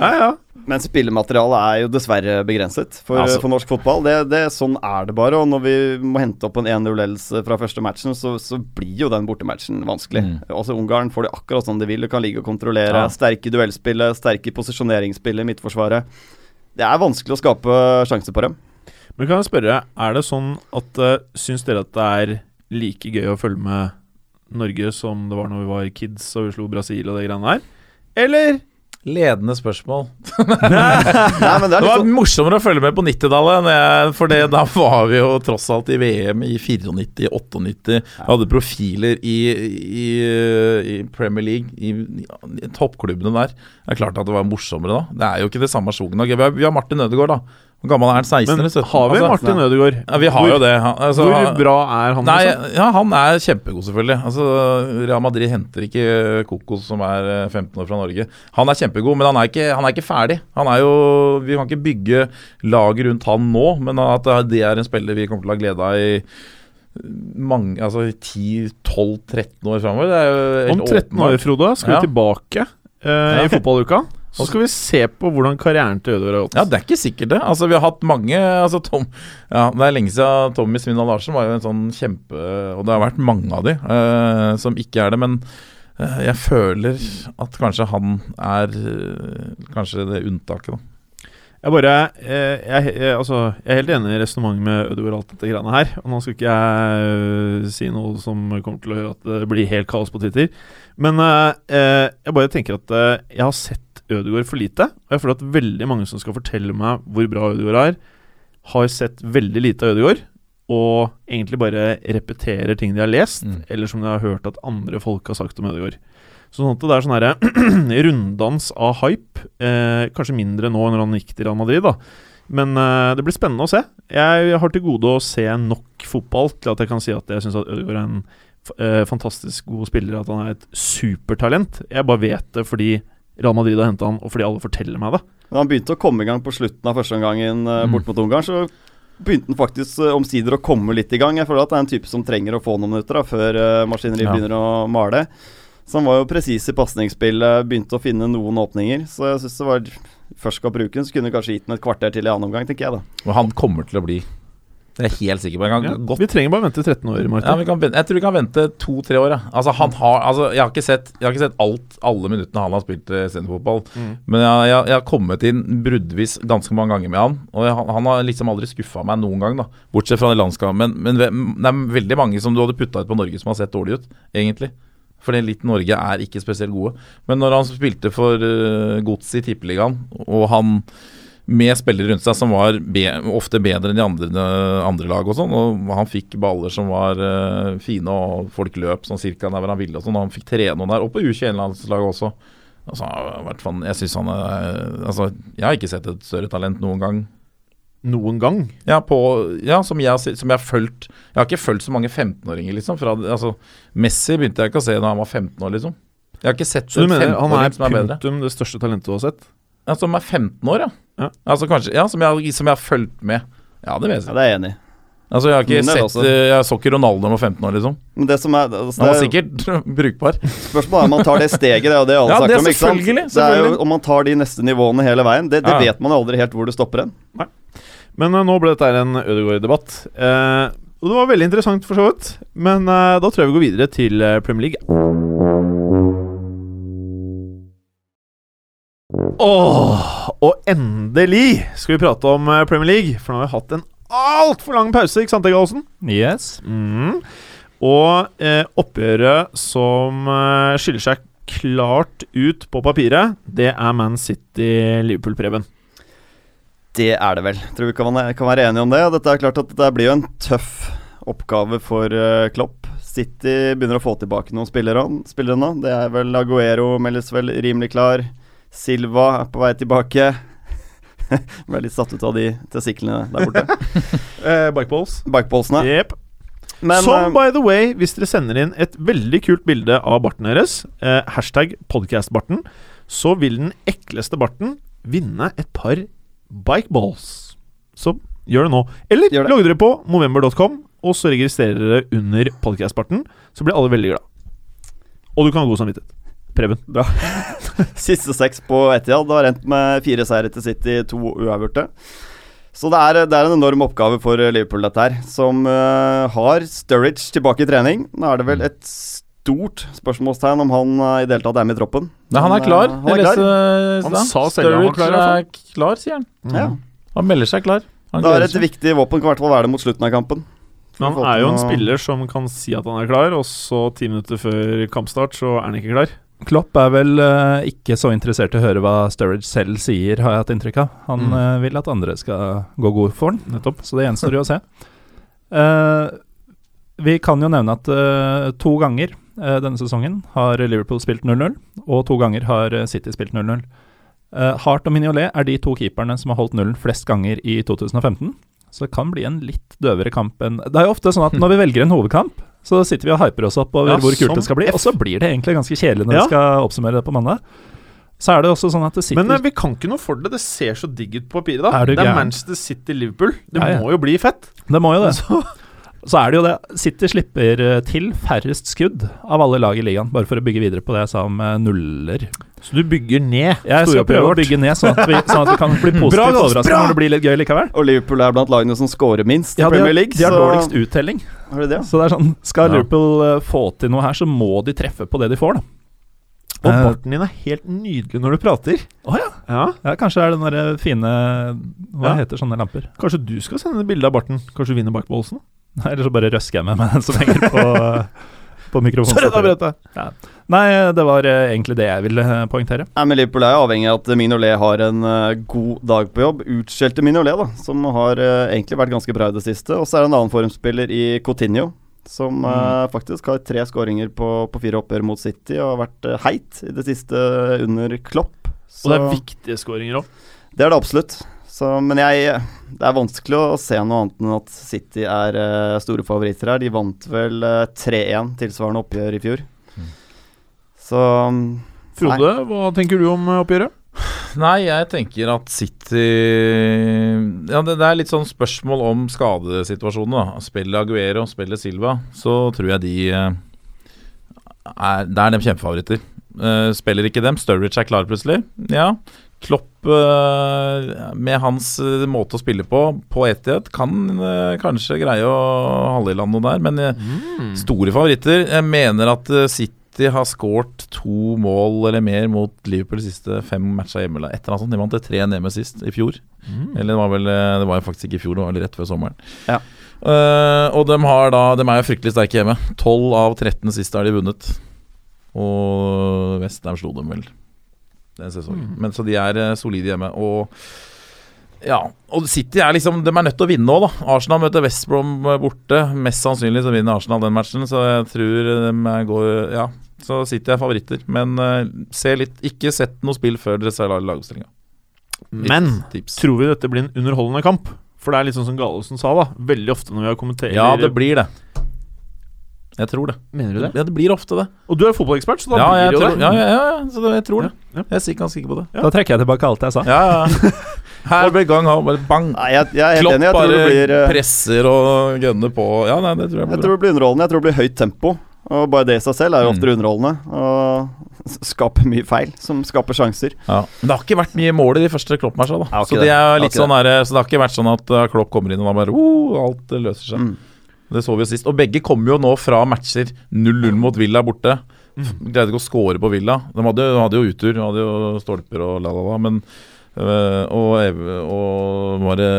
[SPEAKER 4] Ja, ja.
[SPEAKER 5] Men spillematerialet er jo dessverre begrenset for,
[SPEAKER 4] Altså.
[SPEAKER 5] for norsk fotball. Det, det, sånn er det bare. Og når vi må hente opp en 1-0-ledelse fra første matchen, så, så blir jo den bortematchen vanskelig. Altså Ungarn får det akkurat som de vil. De kan ligge og kontrollere.
[SPEAKER 6] Ja.
[SPEAKER 5] Sterke i duellspillet, sterke i posisjoneringsspillet i midtforsvaret. Det er vanskelig å skape sjanser på dem.
[SPEAKER 3] Men kan jeg spørre, er det sånn at uh, Syns dere at det er like gøy å følge med Norge som det var når vi var kids og vi slo Brasil og det greiene der? Eller
[SPEAKER 6] Ledende spørsmål.
[SPEAKER 5] Nei, men det
[SPEAKER 6] Det
[SPEAKER 5] er litt
[SPEAKER 6] var
[SPEAKER 5] sånn
[SPEAKER 6] morsommere å følge med på 90-tallet, enn jeg- for det- da var vi jo tross alt i VM i 94, 98. Vi hadde profiler i, i, i Premier League, i, i toppklubbene der. Det er klart at det var morsommere da. Det er jo ikke det samme sjogen. Vi har, vi har Martin Ødegaard, da. Hvor gammel er han? 16
[SPEAKER 3] Men
[SPEAKER 6] eller 17?
[SPEAKER 3] har vi
[SPEAKER 6] Altså,
[SPEAKER 3] Martin Ødegaard?
[SPEAKER 6] Ja, vi har jo det. Han- altså,
[SPEAKER 3] Hvor
[SPEAKER 6] han-
[SPEAKER 3] bra er han?
[SPEAKER 6] Nei,
[SPEAKER 3] liksom?
[SPEAKER 6] ja, han er kjempegod, selvfølgelig. Altså, Real Madrid henter ikke Kokos, som er eh, 15 år fra Norge. Han er kjempegod, men han er ikke, han er ikke ferdig. Han er jo, vi kan ikke bygge laget rundt han nå, men at eh, det er en spiller vi kommer til å ha glede av i mange, altså 10-12-13 år framover, det er jo helt
[SPEAKER 3] Om 13 år,
[SPEAKER 6] åpenbart.
[SPEAKER 3] Frode, skal
[SPEAKER 6] Ja.
[SPEAKER 3] vi tilbake eh,
[SPEAKER 6] Ja.
[SPEAKER 3] i fotballuka. Så skal vi se på hvordan karrieren til Ødegaard har gått.
[SPEAKER 6] Ja, det er ikke sikkert, det. Altså, vi har hatt mange altså, Tom, ja, Det er lenge siden Tommy Svindal Larsen var jo en sånn kjempe Og det har vært mange av de eh, som ikke er det, men eh, jeg føler at kanskje han er eh, Kanskje det unntaket, da.
[SPEAKER 3] Jeg bare eh, jeg, jeg, altså, jeg er helt enig i resonnementet med Ødegaard og alt dette greiene her. Og nå skal ikke jeg øh, si noe som kommer til å gjøre at det blir helt kaos på Twitter. Men eh, eh, jeg bare tenker at eh, jeg har sett Ødegaard for lite. Og jeg føler at veldig mange som skal fortelle meg hvor bra Ødegaard er, har sett veldig lite av Ødegaard. Og egentlig bare repeterer ting de har lest,
[SPEAKER 6] Mm.
[SPEAKER 3] eller som de har hørt at andre folk har sagt om Ødegaard. Sånn at det er sånn herre runddans av hype. Eh, kanskje mindre nå når han gikk til Real Madrid, da. Men eh, det blir spennende å se. Jeg har til gode å se nok fotball til at jeg kan si at jeg syns Ødegaard er en f eh, fantastisk god spiller, at han er et supertalent. Jeg bare vet det fordi Real Madrid har henta han, og fordi alle forteller meg det.
[SPEAKER 5] Da han begynte å komme i gang på slutten av første omgangen eh,
[SPEAKER 6] Mm.
[SPEAKER 5] bort mot Ungarn, så begynte han faktisk eh, omsider å komme litt i gang. Jeg føler at det er en type som trenger å få noen minutter da, før eh, maskineriet
[SPEAKER 6] Ja.
[SPEAKER 5] begynner å male. Så han var jo presis i pasningsspillet, begynte å finne noen åpninger. Så jeg syns det var Først skal bruke den, så kunne du kanskje gitt den et kvarter til i annen omgang, tenker jeg da.
[SPEAKER 6] Og han kommer til å bli. Det er jeg helt sikker på. Jeg kan
[SPEAKER 3] Ja,
[SPEAKER 6] godt
[SPEAKER 3] vi trenger bare vente 13 år,
[SPEAKER 6] Ja,
[SPEAKER 3] Martin.
[SPEAKER 6] vi kan vente, jeg tror vi kan vente to-tre år. Ja. Altså, han har, altså, jeg, har ikke sett, jeg har ikke sett alt, alle minuttene han har spilt eh, seniorfotball. Men jeg, jeg, jeg har kommet inn bruddvis ganske mange ganger med han. Og jeg, han- han har liksom aldri skuffa meg noen gang, da bortsett fra den landskampen. Men, men ve- det er veldig mange som du hadde putta ut på Norge som har sett dårlig ut, egentlig. Fordi litt Norge er ikke spesielt gode. Men når han spilte for uh, Godset i Tippeligaen, og han med spillere rundt seg som var be ofte bedre enn de andre, andre lag og sånn. Og han fikk baller som var eh, fine, og folk løp sånn cirka der hvor han ville og sånn. Og han fikk trene noen der, og på U21-landslaget også. Altså, han har vært fan, jeg synes han er Altså, jeg har ikke sett et større talent noen gang.
[SPEAKER 3] Noen gang.
[SPEAKER 6] Ja, på, ja som jeg har se- som jeg har fulgt Jeg har ikke fulgt så mange 15-åringer, liksom. Fra, altså, Messi begynte jeg ikke å se da han var 15 år, liksom. Jeg har ikke sett
[SPEAKER 3] Så du
[SPEAKER 6] en
[SPEAKER 3] mener han
[SPEAKER 6] 15-åring
[SPEAKER 3] er
[SPEAKER 6] som er bedre.
[SPEAKER 3] punktum det største talentet du har sett?
[SPEAKER 6] Ja, som er 15 år, ja.
[SPEAKER 3] Ja.
[SPEAKER 6] Altså kanskje, ja som, jeg, som jeg har fulgt med. Ja, det vil jeg si.
[SPEAKER 5] Ja, det er jeg enig i.
[SPEAKER 6] Altså, jeg har ikke
[SPEAKER 5] Min del
[SPEAKER 6] sett
[SPEAKER 5] også.
[SPEAKER 6] eh, Jeg så ikke Ronaldo når han var 15 år, liksom.
[SPEAKER 5] Men det som er, altså,
[SPEAKER 6] Han var
[SPEAKER 5] det er-
[SPEAKER 6] sikkert brukbar.
[SPEAKER 5] Spørsmålet er om man tar det steget, det er jo det alle
[SPEAKER 6] Ja, det
[SPEAKER 5] snakker
[SPEAKER 6] er
[SPEAKER 5] om. ikke sant?
[SPEAKER 6] selvfølgelig,
[SPEAKER 5] Det er jo om man tar de neste nivåene hele veien. Det, det
[SPEAKER 6] Ja, ja.
[SPEAKER 5] vet man jo aldri helt hvor det stopper hen.
[SPEAKER 3] Men eh, nå ble dette her en Ødegaard-debatt. Eh, og det var veldig interessant, for så vidt. Men eh, da tror jeg vi går videre til eh, Premier League. Åh, og endelig skal vi prate om eh, Premier League, for nå har vi hatt en altfor lang pause, ikke sant, Egil Aasen?
[SPEAKER 4] Yes.
[SPEAKER 3] Mm. Og eh, oppgjøret som eh, skiller seg klart ut på papiret, det er Man City-Liverpool-Preben.
[SPEAKER 5] Det er det vel. Tror vi kan, kan være enige om det. Dette er klart at det blir jo en tøff oppgave for eh, Klopp. City begynner å få tilbake noen spillere spillere nå. Det er vel Aguero meldes vel rimelig klar. Silva er på vei tilbake. Ble litt satt ut av de testiklene der borte.
[SPEAKER 4] Eh, Bikeballs.
[SPEAKER 5] Bikeposene.
[SPEAKER 3] Jep.
[SPEAKER 5] Men
[SPEAKER 3] Som,
[SPEAKER 5] eh,
[SPEAKER 3] by the way, hvis dere sender inn et veldig kult bilde av barten deres, eh, hashtag podcastbarten, så vil den ekleste barten vinne et par bikeballs. Så gjør det nå. Eller
[SPEAKER 5] Gjør det.
[SPEAKER 3] logg dere på movember.com, og så registrerer dere under podcastbarten, så blir alle veldig glad. Og du kan ha god samvittighet. Preben.
[SPEAKER 5] Siste seks på Etihad har endt med fire seire til City, to uavgjorte. Så det er, det er en enorm oppgave for Liverpool, dette her, som eh, har Sturridge tilbake i trening. Nå er det vel et stort spørsmålstegn om han eh, i det hele tatt er med i troppen.
[SPEAKER 6] Nei, han er klar.
[SPEAKER 5] Han er klar.
[SPEAKER 6] Han sa selv han var klar. Er klar, sier han.
[SPEAKER 4] Mm.
[SPEAKER 5] Ja.
[SPEAKER 6] Han melder seg klar. Han
[SPEAKER 5] Det er
[SPEAKER 6] gleder
[SPEAKER 5] et
[SPEAKER 6] seg.
[SPEAKER 5] viktig våpen, i hvert fall være det mot slutten av kampen.
[SPEAKER 3] Men han er jo en spiller som kan si at han er klar, og så ti minutter før kampstart så er han ikke klar.
[SPEAKER 4] Klopp er vel eh, ikke så interessert i å høre hva Sturridge selv sier, har jeg hatt inntrykk av. Han
[SPEAKER 3] Mm.
[SPEAKER 4] eh, vil at andre skal gå god for den,
[SPEAKER 3] Nettopp.
[SPEAKER 4] så det gjenstår jo å se. Eh, vi kan jo nevne at eh, to ganger eh, denne sesongen har Liverpool spilt 0-0, og to ganger har eh, City spilt 0-0. Eh, Hart og Mignolet er de to keeperne som har holdt nullen flest ganger i 2015. Så det kan bli en litt døvere kamp enn Det er jo ofte sånn at når vi velger en hovedkamp, så sitter vi og hyper oss opp
[SPEAKER 3] Ja,
[SPEAKER 4] over hvor kult
[SPEAKER 3] som
[SPEAKER 4] det skal bli, og så blir det egentlig ganske kjedelig når
[SPEAKER 3] Ja.
[SPEAKER 4] vi skal oppsummere det på mandag. Så er det også sånn at det sitter
[SPEAKER 3] Men eh, vi kan ikke noe for det. Det ser så digg ut på papiret. da
[SPEAKER 4] Er du
[SPEAKER 3] Det er
[SPEAKER 4] gæren?
[SPEAKER 3] Manchester City-Liverpool. Det
[SPEAKER 4] Ja, ja.
[SPEAKER 3] må jo bli fett.
[SPEAKER 4] Det må jo det. Så, er det jo det. City slipper eh, til færrest skudd av alle lag i ligaen, bare for å bygge videre på det jeg sa om eh, nuller.
[SPEAKER 3] Så du bygger ned
[SPEAKER 4] Jeg skal
[SPEAKER 3] storoppgjøret
[SPEAKER 4] prøve å
[SPEAKER 3] vårt.
[SPEAKER 4] bygge ned, sånn at vi, sånn at vi kan bli
[SPEAKER 3] Bra,
[SPEAKER 4] positivt
[SPEAKER 3] Jonas,
[SPEAKER 4] overrasket
[SPEAKER 3] bra!
[SPEAKER 4] når det blir litt gøy likevel.
[SPEAKER 5] Og Liverpool er blant lagene som scorer minst i
[SPEAKER 4] Ja, de,
[SPEAKER 5] Premier
[SPEAKER 4] har,
[SPEAKER 5] League.
[SPEAKER 4] de har
[SPEAKER 5] så-
[SPEAKER 4] dårligst uttelling.
[SPEAKER 5] Har de det?
[SPEAKER 4] Så det er sånn, skal
[SPEAKER 6] Ja.
[SPEAKER 4] Liverpool eh, få til noe her, så må de treffe på det de får, da.
[SPEAKER 3] Og barten din er helt nydelig når du prater.
[SPEAKER 4] Å ja. ja, kanskje det er den derre fine Hva
[SPEAKER 3] Ja.
[SPEAKER 4] heter sånne lamper?
[SPEAKER 3] Kanskje du skal sende et bilde av barten? Kanskje du vinner bakbollsen?
[SPEAKER 4] Nei, Eller så bare røsker jeg med meg den som henger på, på
[SPEAKER 3] Sorry, da,
[SPEAKER 4] mikrofonen.
[SPEAKER 3] Brette.
[SPEAKER 4] Nei, det var eh, egentlig det jeg ville eh, poengtere.
[SPEAKER 5] Nei, men Liverpool er jo avhengig av at Mignolet har en eh, god dag på jobb. Utskjelte Mignolet, da, som har eh, egentlig vært ganske bra i det siste. Og så er det en annen formspiller i Coutinho, som
[SPEAKER 3] Mm.
[SPEAKER 5] eh, faktisk har tre skåringer på, på fire oppgjør mot City og har vært eh, heit i det siste under Klopp. Så
[SPEAKER 3] Og det er viktige skåringer òg.
[SPEAKER 5] det er det absolutt. Så, men jeg, det er vanskelig å se noe annet enn at City er eh, store favoritter her. De vant vel eh, 3-1 tilsvarende oppgjør i fjor.
[SPEAKER 3] Mm.
[SPEAKER 5] Så mm,
[SPEAKER 3] Frode, hva tenker du om eh, oppgjøret?
[SPEAKER 6] Nei, jeg tenker at City Ja, det, det er litt sånn spørsmål om skadesituasjonen, da. Spiller Aguero, spiller Silva, så tror jeg de eh, er, Det er dem kjempefavoritter. Eh, spiller ikke dem. Sturridge er klar plutselig. Ja. Klopp, eh, med hans eh, måte å spille på, på Etihad, kan eh, kanskje greie å halve i land noe der, men eh, Store favoritter. Jeg mener at eh, City har skåret to mål eller mer mot Liverpool de siste fem matcha hjemme. Eller et eller annet sånt. De vant det 3-1 hjemme sist, i fjor. Eller det var vel eh, Det var jo faktisk ikke i fjor, det var vel rett før sommeren.
[SPEAKER 5] Ja.
[SPEAKER 6] Eh, og de, har da, de er jo fryktelig sterke hjemme. 12 av 13 siste har de vunnet. Og Westham slo dem vel den sesongen. Men, så de er eh, solide hjemme. Og ja, og City er liksom De er nødt til å vinne nå, da. Arsenal møter West Brom eh, borte. Mest sannsynlig så vinner Arsenal den matchen, så jeg tror de går Ja, så City er favoritter. Men eh, se litt Ikke sett noe spill før dere ser lagoppstillinga.
[SPEAKER 3] mm. Men
[SPEAKER 6] Tips.
[SPEAKER 3] tror vi dette blir en underholdende kamp? For det er litt sånn som Gallosen sa, da. Veldig ofte når vi har kommentert
[SPEAKER 6] Ja, det blir det. Jeg tror det.
[SPEAKER 3] Mener du det?
[SPEAKER 6] Ja, det blir ofte det.
[SPEAKER 3] Og du er fotballekspert, så da
[SPEAKER 6] Ja,
[SPEAKER 3] blir
[SPEAKER 6] jeg
[SPEAKER 3] det jo
[SPEAKER 6] tror,
[SPEAKER 3] det.
[SPEAKER 6] ja, ja, ja, ja, så det, jeg tror det.
[SPEAKER 3] Ja.
[SPEAKER 6] Jeg er sikker- ganske sikker på det.
[SPEAKER 3] Ja.
[SPEAKER 4] Da trekker jeg tilbake alt jeg sa.
[SPEAKER 6] Ja, ja. Her ble gang av, bare bang.
[SPEAKER 5] Nei, jeg, jeg er helt
[SPEAKER 6] Klopp
[SPEAKER 5] enig. Jeg tror det
[SPEAKER 6] bare
[SPEAKER 5] blir eh,
[SPEAKER 6] presser og gønner på. Ja, nei, det tror jeg
[SPEAKER 5] Jeg
[SPEAKER 6] blir bra.
[SPEAKER 5] tror det blir underholdende. Jeg tror det blir høyt tempo. Og bare det i seg selv er jo ofte
[SPEAKER 6] Mm.
[SPEAKER 5] underholdende. Og s- skaper mye feil, som skaper sjanser.
[SPEAKER 6] Ja. Men det har ikke vært mye mål i de første Klopp-matcha, da.
[SPEAKER 5] Ja, ok
[SPEAKER 6] så,
[SPEAKER 5] det.
[SPEAKER 6] det
[SPEAKER 5] Ja,
[SPEAKER 6] er litt
[SPEAKER 5] ok
[SPEAKER 6] sånn her, så det har ikke vært sånn at uh, Klopp kommer inn og da bare oh, alt uh, løser seg.
[SPEAKER 5] Mm.
[SPEAKER 6] Det så vi jo sist. Og begge kom jo nå fra matcher 0-0 mot Villa borte. Greide ikke å score på Villa. De hadde, de hadde jo uttur, de hadde jo stolper og la-la-la, men øh, og, Ev- og var det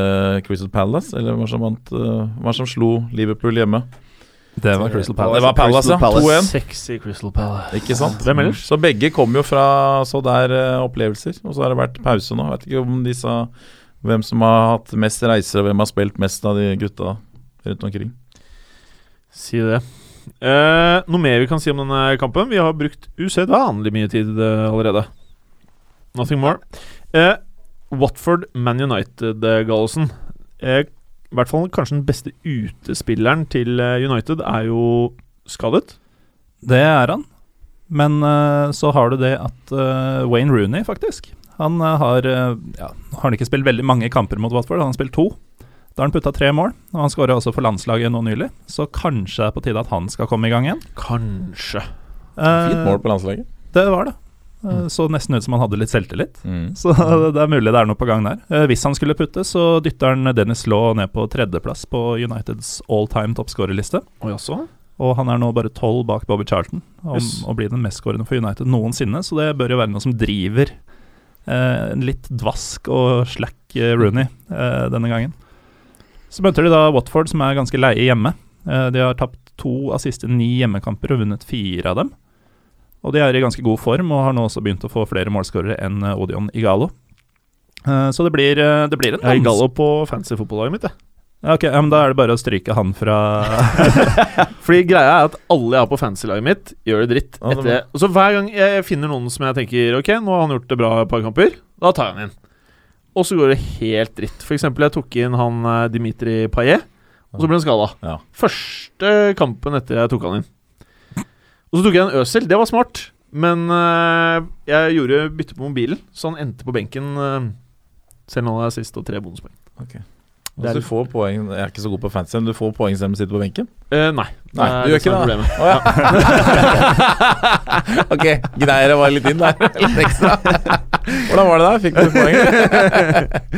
[SPEAKER 6] Crystal Palace, eller hva som vant øh, Hva som slo Liverpool hjemme?
[SPEAKER 4] Det var Crystal Palace.
[SPEAKER 6] Det var Palace,
[SPEAKER 5] Crystal
[SPEAKER 6] ja.
[SPEAKER 5] Palace.
[SPEAKER 6] 2-1.
[SPEAKER 3] Sexy Crystal Palace.
[SPEAKER 6] Ikke sant?
[SPEAKER 3] Hvem ellers?
[SPEAKER 6] Så begge kom jo fra så der eh, opplevelser, og så har det vært pause nå. Jeg vet ikke om de sa hvem som har hatt mest reiser, og hvem har spilt mest av de gutta rundt omkring.
[SPEAKER 3] Si det. Eh, noe mer vi kan si om denne kampen? Vi har brukt usedvanlig mye tid eh, allerede. Nothing more. Eh, Watford-Man United-Gallosen. Eh, I hvert fall kanskje den beste utespilleren til eh, United er jo skadet.
[SPEAKER 4] Det er han. Men eh, så har du det at eh, Wayne Rooney, faktisk Han eh, har eh, ja, Har han ikke spilt veldig mange kamper mot Watford, han har spilt to. Da har han putta tre mål, og han skåra også for landslaget nå nylig. Så kanskje det er på tide at han skal komme i gang igjen. Eh,
[SPEAKER 3] Kanskje.
[SPEAKER 6] Fint mål på landslaget.
[SPEAKER 4] Det var det.
[SPEAKER 3] Mm.
[SPEAKER 4] Eh, Så nesten ut som han hadde litt selvtillit.
[SPEAKER 6] Mm.
[SPEAKER 4] Så det er mulig det er noe på gang der. Eh, Hvis han skulle putte, så dytter han Dennis Law ned på tredjeplass på Uniteds all time toppskårerliste.
[SPEAKER 3] Og jaså?
[SPEAKER 4] Og han er nå bare tolv bak Bobby Charlton om
[SPEAKER 3] Yes.
[SPEAKER 4] å bli den mestskårende for United noensinne, så det bør jo være noe som driver eh, en litt dvask og slack eh, Rooney eh, denne gangen. Så møter de da Watford, som er ganske leie hjemme. Eh, de har tapt to av siste ni hjemmekamper og vunnet fire av dem. Og de er i ganske god form og har nå også begynt å få flere målskårere enn eh, Odion Igalo. Eh, så det blir, eh, det blir en
[SPEAKER 3] Jeg er i
[SPEAKER 4] vans-
[SPEAKER 3] gallo på fancy fotballaget mitt, jeg.
[SPEAKER 4] Ja, ok, ja, men Da er det bare å stryke han fra
[SPEAKER 3] Fordi greia er at alle jeg har på fancy-laget mitt, gjør det dritt.
[SPEAKER 6] Ja, det
[SPEAKER 3] Etter, så hver gang jeg finner noen som jeg tenker Ok, nå har han gjort det bra et par kamper, da tar jeg han inn. Og så går det helt dritt. For eksempel, jeg tok inn han eh, Dimitri Payet, og så ble han skada.
[SPEAKER 6] Ja.
[SPEAKER 3] Første kampen etter jeg tok han inn. Og så tok jeg en Øsel. Det var smart, men eh, jeg gjorde bytte på mobilen, så han endte på benken. eh, selv nå er sist og tre bonuspoeng.
[SPEAKER 6] Altså, du får poeng Jeg er ikke så god på fantasy, men du får poeng selv om du sitter på benken.
[SPEAKER 3] Eh, nei.
[SPEAKER 6] Nei,
[SPEAKER 3] er
[SPEAKER 6] du
[SPEAKER 3] som
[SPEAKER 6] gjør ikke
[SPEAKER 3] er
[SPEAKER 6] det,
[SPEAKER 3] problemet.
[SPEAKER 6] Å ja. ok, greier jeg bare litt inn der. Litt ekstra. Hvordan var det der? Fikk du poeng?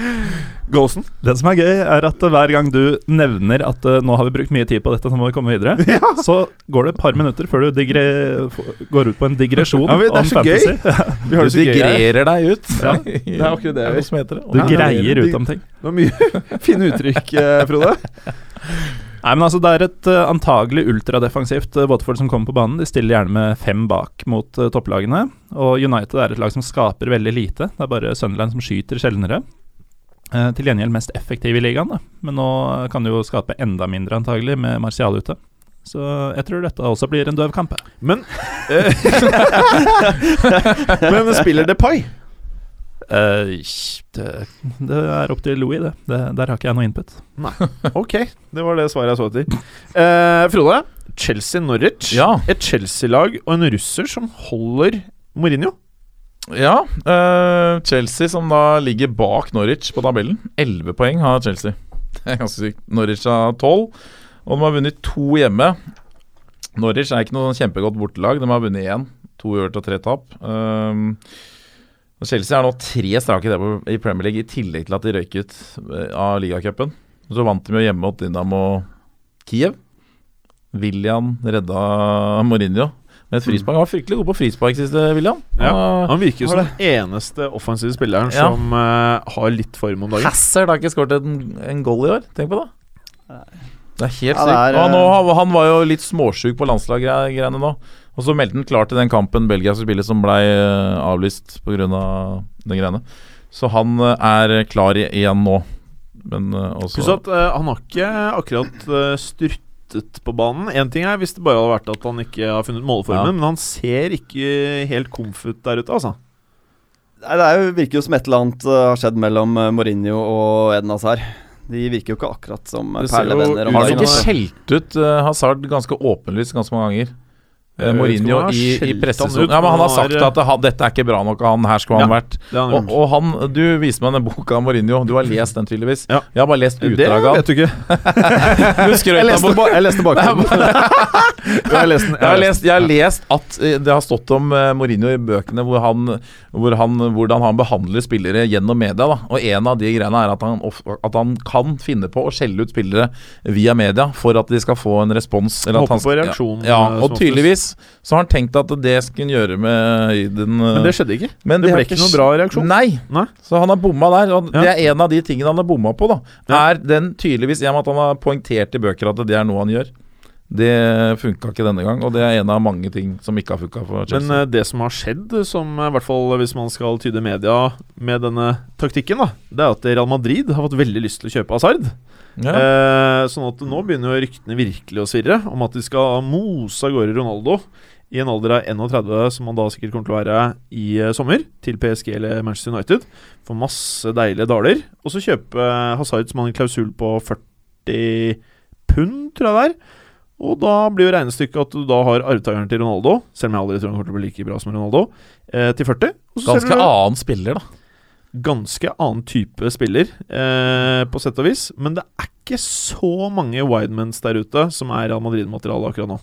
[SPEAKER 3] Golsen.
[SPEAKER 4] Det som er gøy, er at hver gang du nevner at eh, nå har vi brukt mye tid på dette, nå må vi komme videre, så går det et par minutter før du digre, f- går ut på en digresjon
[SPEAKER 3] Ja, men det er
[SPEAKER 4] om
[SPEAKER 3] så gøy.
[SPEAKER 4] fantasy.
[SPEAKER 3] Vi har
[SPEAKER 6] Du
[SPEAKER 3] det så gøy her.
[SPEAKER 6] digrerer deg ut.
[SPEAKER 4] Ja,
[SPEAKER 6] det
[SPEAKER 3] er akkurat det jeg gjør.
[SPEAKER 6] noe som heter det.
[SPEAKER 4] Du
[SPEAKER 3] Ja,
[SPEAKER 4] greier
[SPEAKER 3] det er-
[SPEAKER 4] ut om ting.
[SPEAKER 3] Det var mye fine uttrykk, eh, Frode.
[SPEAKER 4] Nei, men altså Det er et eh, antagelig ultradefensivt eh, Watford som kommer på banen. De stiller gjerne med fem bak mot eh, topplagene. Og United er et lag som skaper veldig lite. Det er bare Sunderland som skyter sjeldnere. Eh, til gjengjeld mest effektive i ligaen, da. men nå eh, kan de jo skape enda mindre, antagelig, med Martial ute. Så jeg tror dette også blir en døv kamp.
[SPEAKER 3] Men eh, Men spiller det pai?
[SPEAKER 4] Eh, det, det er opp til Louis, det. det. Der har ikke jeg noe input.
[SPEAKER 3] Ok, det var det svaret jeg så etter. Eh, Frode, Chelsea-Norwich.
[SPEAKER 6] Ja.
[SPEAKER 3] Et Chelsea-lag og en russer som holder Mourinho.
[SPEAKER 6] Ja, eh, Chelsea som da ligger bak Norwich på tabellen. 11 poeng har Chelsea. Det er ganske sykt. Norwich har 12, og de har vunnet to hjemme. Norwich er ikke noe sånn kjempegodt bortelag. De har vunnet én. To uavgjort og tre tap. Um, og Chelsea har nå tre strake tap i Premier League, i tillegg til at de røyk ut eh, av ligacupen. Så vant de jo hjemme mot Dinamo Kiev. William redda Mourinho med et frispark. Han var fryktelig god på frispark sist, eh, William. Han var-
[SPEAKER 3] Han virker jo som
[SPEAKER 6] Har
[SPEAKER 3] den eneste offensive spilleren
[SPEAKER 6] Ja.
[SPEAKER 3] som eh, har litt form om dagen.
[SPEAKER 6] Hazard har ikke skåret en, en goal i år. Tenk på det. Det er helt
[SPEAKER 5] Ja,
[SPEAKER 6] sykt.
[SPEAKER 5] det er,
[SPEAKER 6] Og han,
[SPEAKER 5] eh,
[SPEAKER 6] nå- han var jo litt småsjuk på landslaggreiene nå. Og så meldte han klart til den kampen Belgia skulle spille, som blei eh, avlyst pga. Av de greiene. Så han eh, er klar i- igjen nå. Men eh,
[SPEAKER 3] Pluss
[SPEAKER 6] også
[SPEAKER 3] at eh, han har ikke akkurat eh, styrtet på banen. Én ting er hvis det bare hadde vært at han ikke har funnet måleformen,
[SPEAKER 6] Ja.
[SPEAKER 3] men han ser ikke helt komf ut der ute, altså.
[SPEAKER 5] Nei, det er jo, virker jo som et eller annet eh, har skjedd mellom eh, Mourinho og Eden Hazard. De virker jo ikke akkurat som eh,
[SPEAKER 3] Det ser jo
[SPEAKER 5] perlevenner. om
[SPEAKER 3] ut
[SPEAKER 6] Har han
[SPEAKER 5] dagen,
[SPEAKER 6] ikke
[SPEAKER 5] altså.
[SPEAKER 6] skjelt ut eh, Hazard ganske åpenlyst ganske mange ganger?
[SPEAKER 3] Jeg
[SPEAKER 6] Eh,
[SPEAKER 3] vet ikke om
[SPEAKER 6] Mourinho
[SPEAKER 3] han har
[SPEAKER 6] i,
[SPEAKER 3] skjelt
[SPEAKER 6] i
[SPEAKER 3] han ut,
[SPEAKER 6] pressesonen. Ja, men han har sagt at eh, han, dette er ikke bra nok, han her skulle han
[SPEAKER 3] Ja.
[SPEAKER 6] vært
[SPEAKER 3] Det har han
[SPEAKER 6] Og,
[SPEAKER 3] gjort.
[SPEAKER 6] og han, du viste meg den boka av Mourinho. Du har lest den tydeligvis.
[SPEAKER 3] Ja.
[SPEAKER 6] Jeg har bare lest
[SPEAKER 3] det
[SPEAKER 6] utdraget av
[SPEAKER 3] vet du ikke.
[SPEAKER 6] den. Du
[SPEAKER 3] Jeg
[SPEAKER 6] skrøt av
[SPEAKER 3] leste,
[SPEAKER 6] boka.
[SPEAKER 3] ba jeg leste bakgrunnen. jeg har lest den.
[SPEAKER 6] Jeg har, lest, jeg har lest at eh, det har stått om eh, Mourinho i bøkene hvor han, hvor han, hvordan han behandler spillere gjennom media. Da. Og en av de greiene er at han, of- at han kan finne på å skjelle ut spillere via media for at de skal få en respons.
[SPEAKER 3] Håper
[SPEAKER 6] at
[SPEAKER 3] på
[SPEAKER 6] han skal-
[SPEAKER 3] reaksjon,
[SPEAKER 6] Ja,
[SPEAKER 3] eh,
[SPEAKER 6] ja,
[SPEAKER 3] som
[SPEAKER 6] og
[SPEAKER 3] oftest.
[SPEAKER 6] tydeligvis så har han tenkt at det skulle han gjøre med i den eh,
[SPEAKER 3] Men det skjedde ikke.
[SPEAKER 6] Men
[SPEAKER 3] Det
[SPEAKER 6] de har
[SPEAKER 3] ble ikke noe bra reaksjon.
[SPEAKER 6] Nei.
[SPEAKER 3] Nei.
[SPEAKER 6] Så han har bomma der. Og det
[SPEAKER 3] Ja.
[SPEAKER 6] er en av de tingene han har bomma på, da.
[SPEAKER 3] Ja.
[SPEAKER 6] Er den tydeligvis i og med at han har poengtert i bøker at det er noe han gjør. Det funka ikke denne gang, og det er en av mange ting som ikke har funka for Chelsea.
[SPEAKER 3] Men eh, det som har skjedd, som eh, i hvert fall hvis man skal tyde media med denne taktikken, da, det er at Real Madrid har fått veldig lyst til å kjøpe Hazard.
[SPEAKER 6] ja.
[SPEAKER 3] Eh, sånn at nå begynner jo ryktene virkelig å svirre om at de skal mose av gårde Ronaldo i en alder av 31, som han da sikkert kommer til å være i eh, sommer, til PSG eller Manchester United. Få masse deilige daler. Og så kjøpe eh, Hazard, som har en klausul på 40 pund, tror jeg det er. Og da blir jo regnestykket at du da har arvtakeren til Ronaldo, selv om jeg aldri tror han kommer til å bli like bra som Ronaldo, eh, til 40. Og så selger
[SPEAKER 6] Ganske
[SPEAKER 3] du-
[SPEAKER 6] annen spiller, da.
[SPEAKER 3] ganske annen type spiller, eh, på sett og vis. Men det er ikke så mange widemans der ute som er Real Madrid-materiale akkurat nå.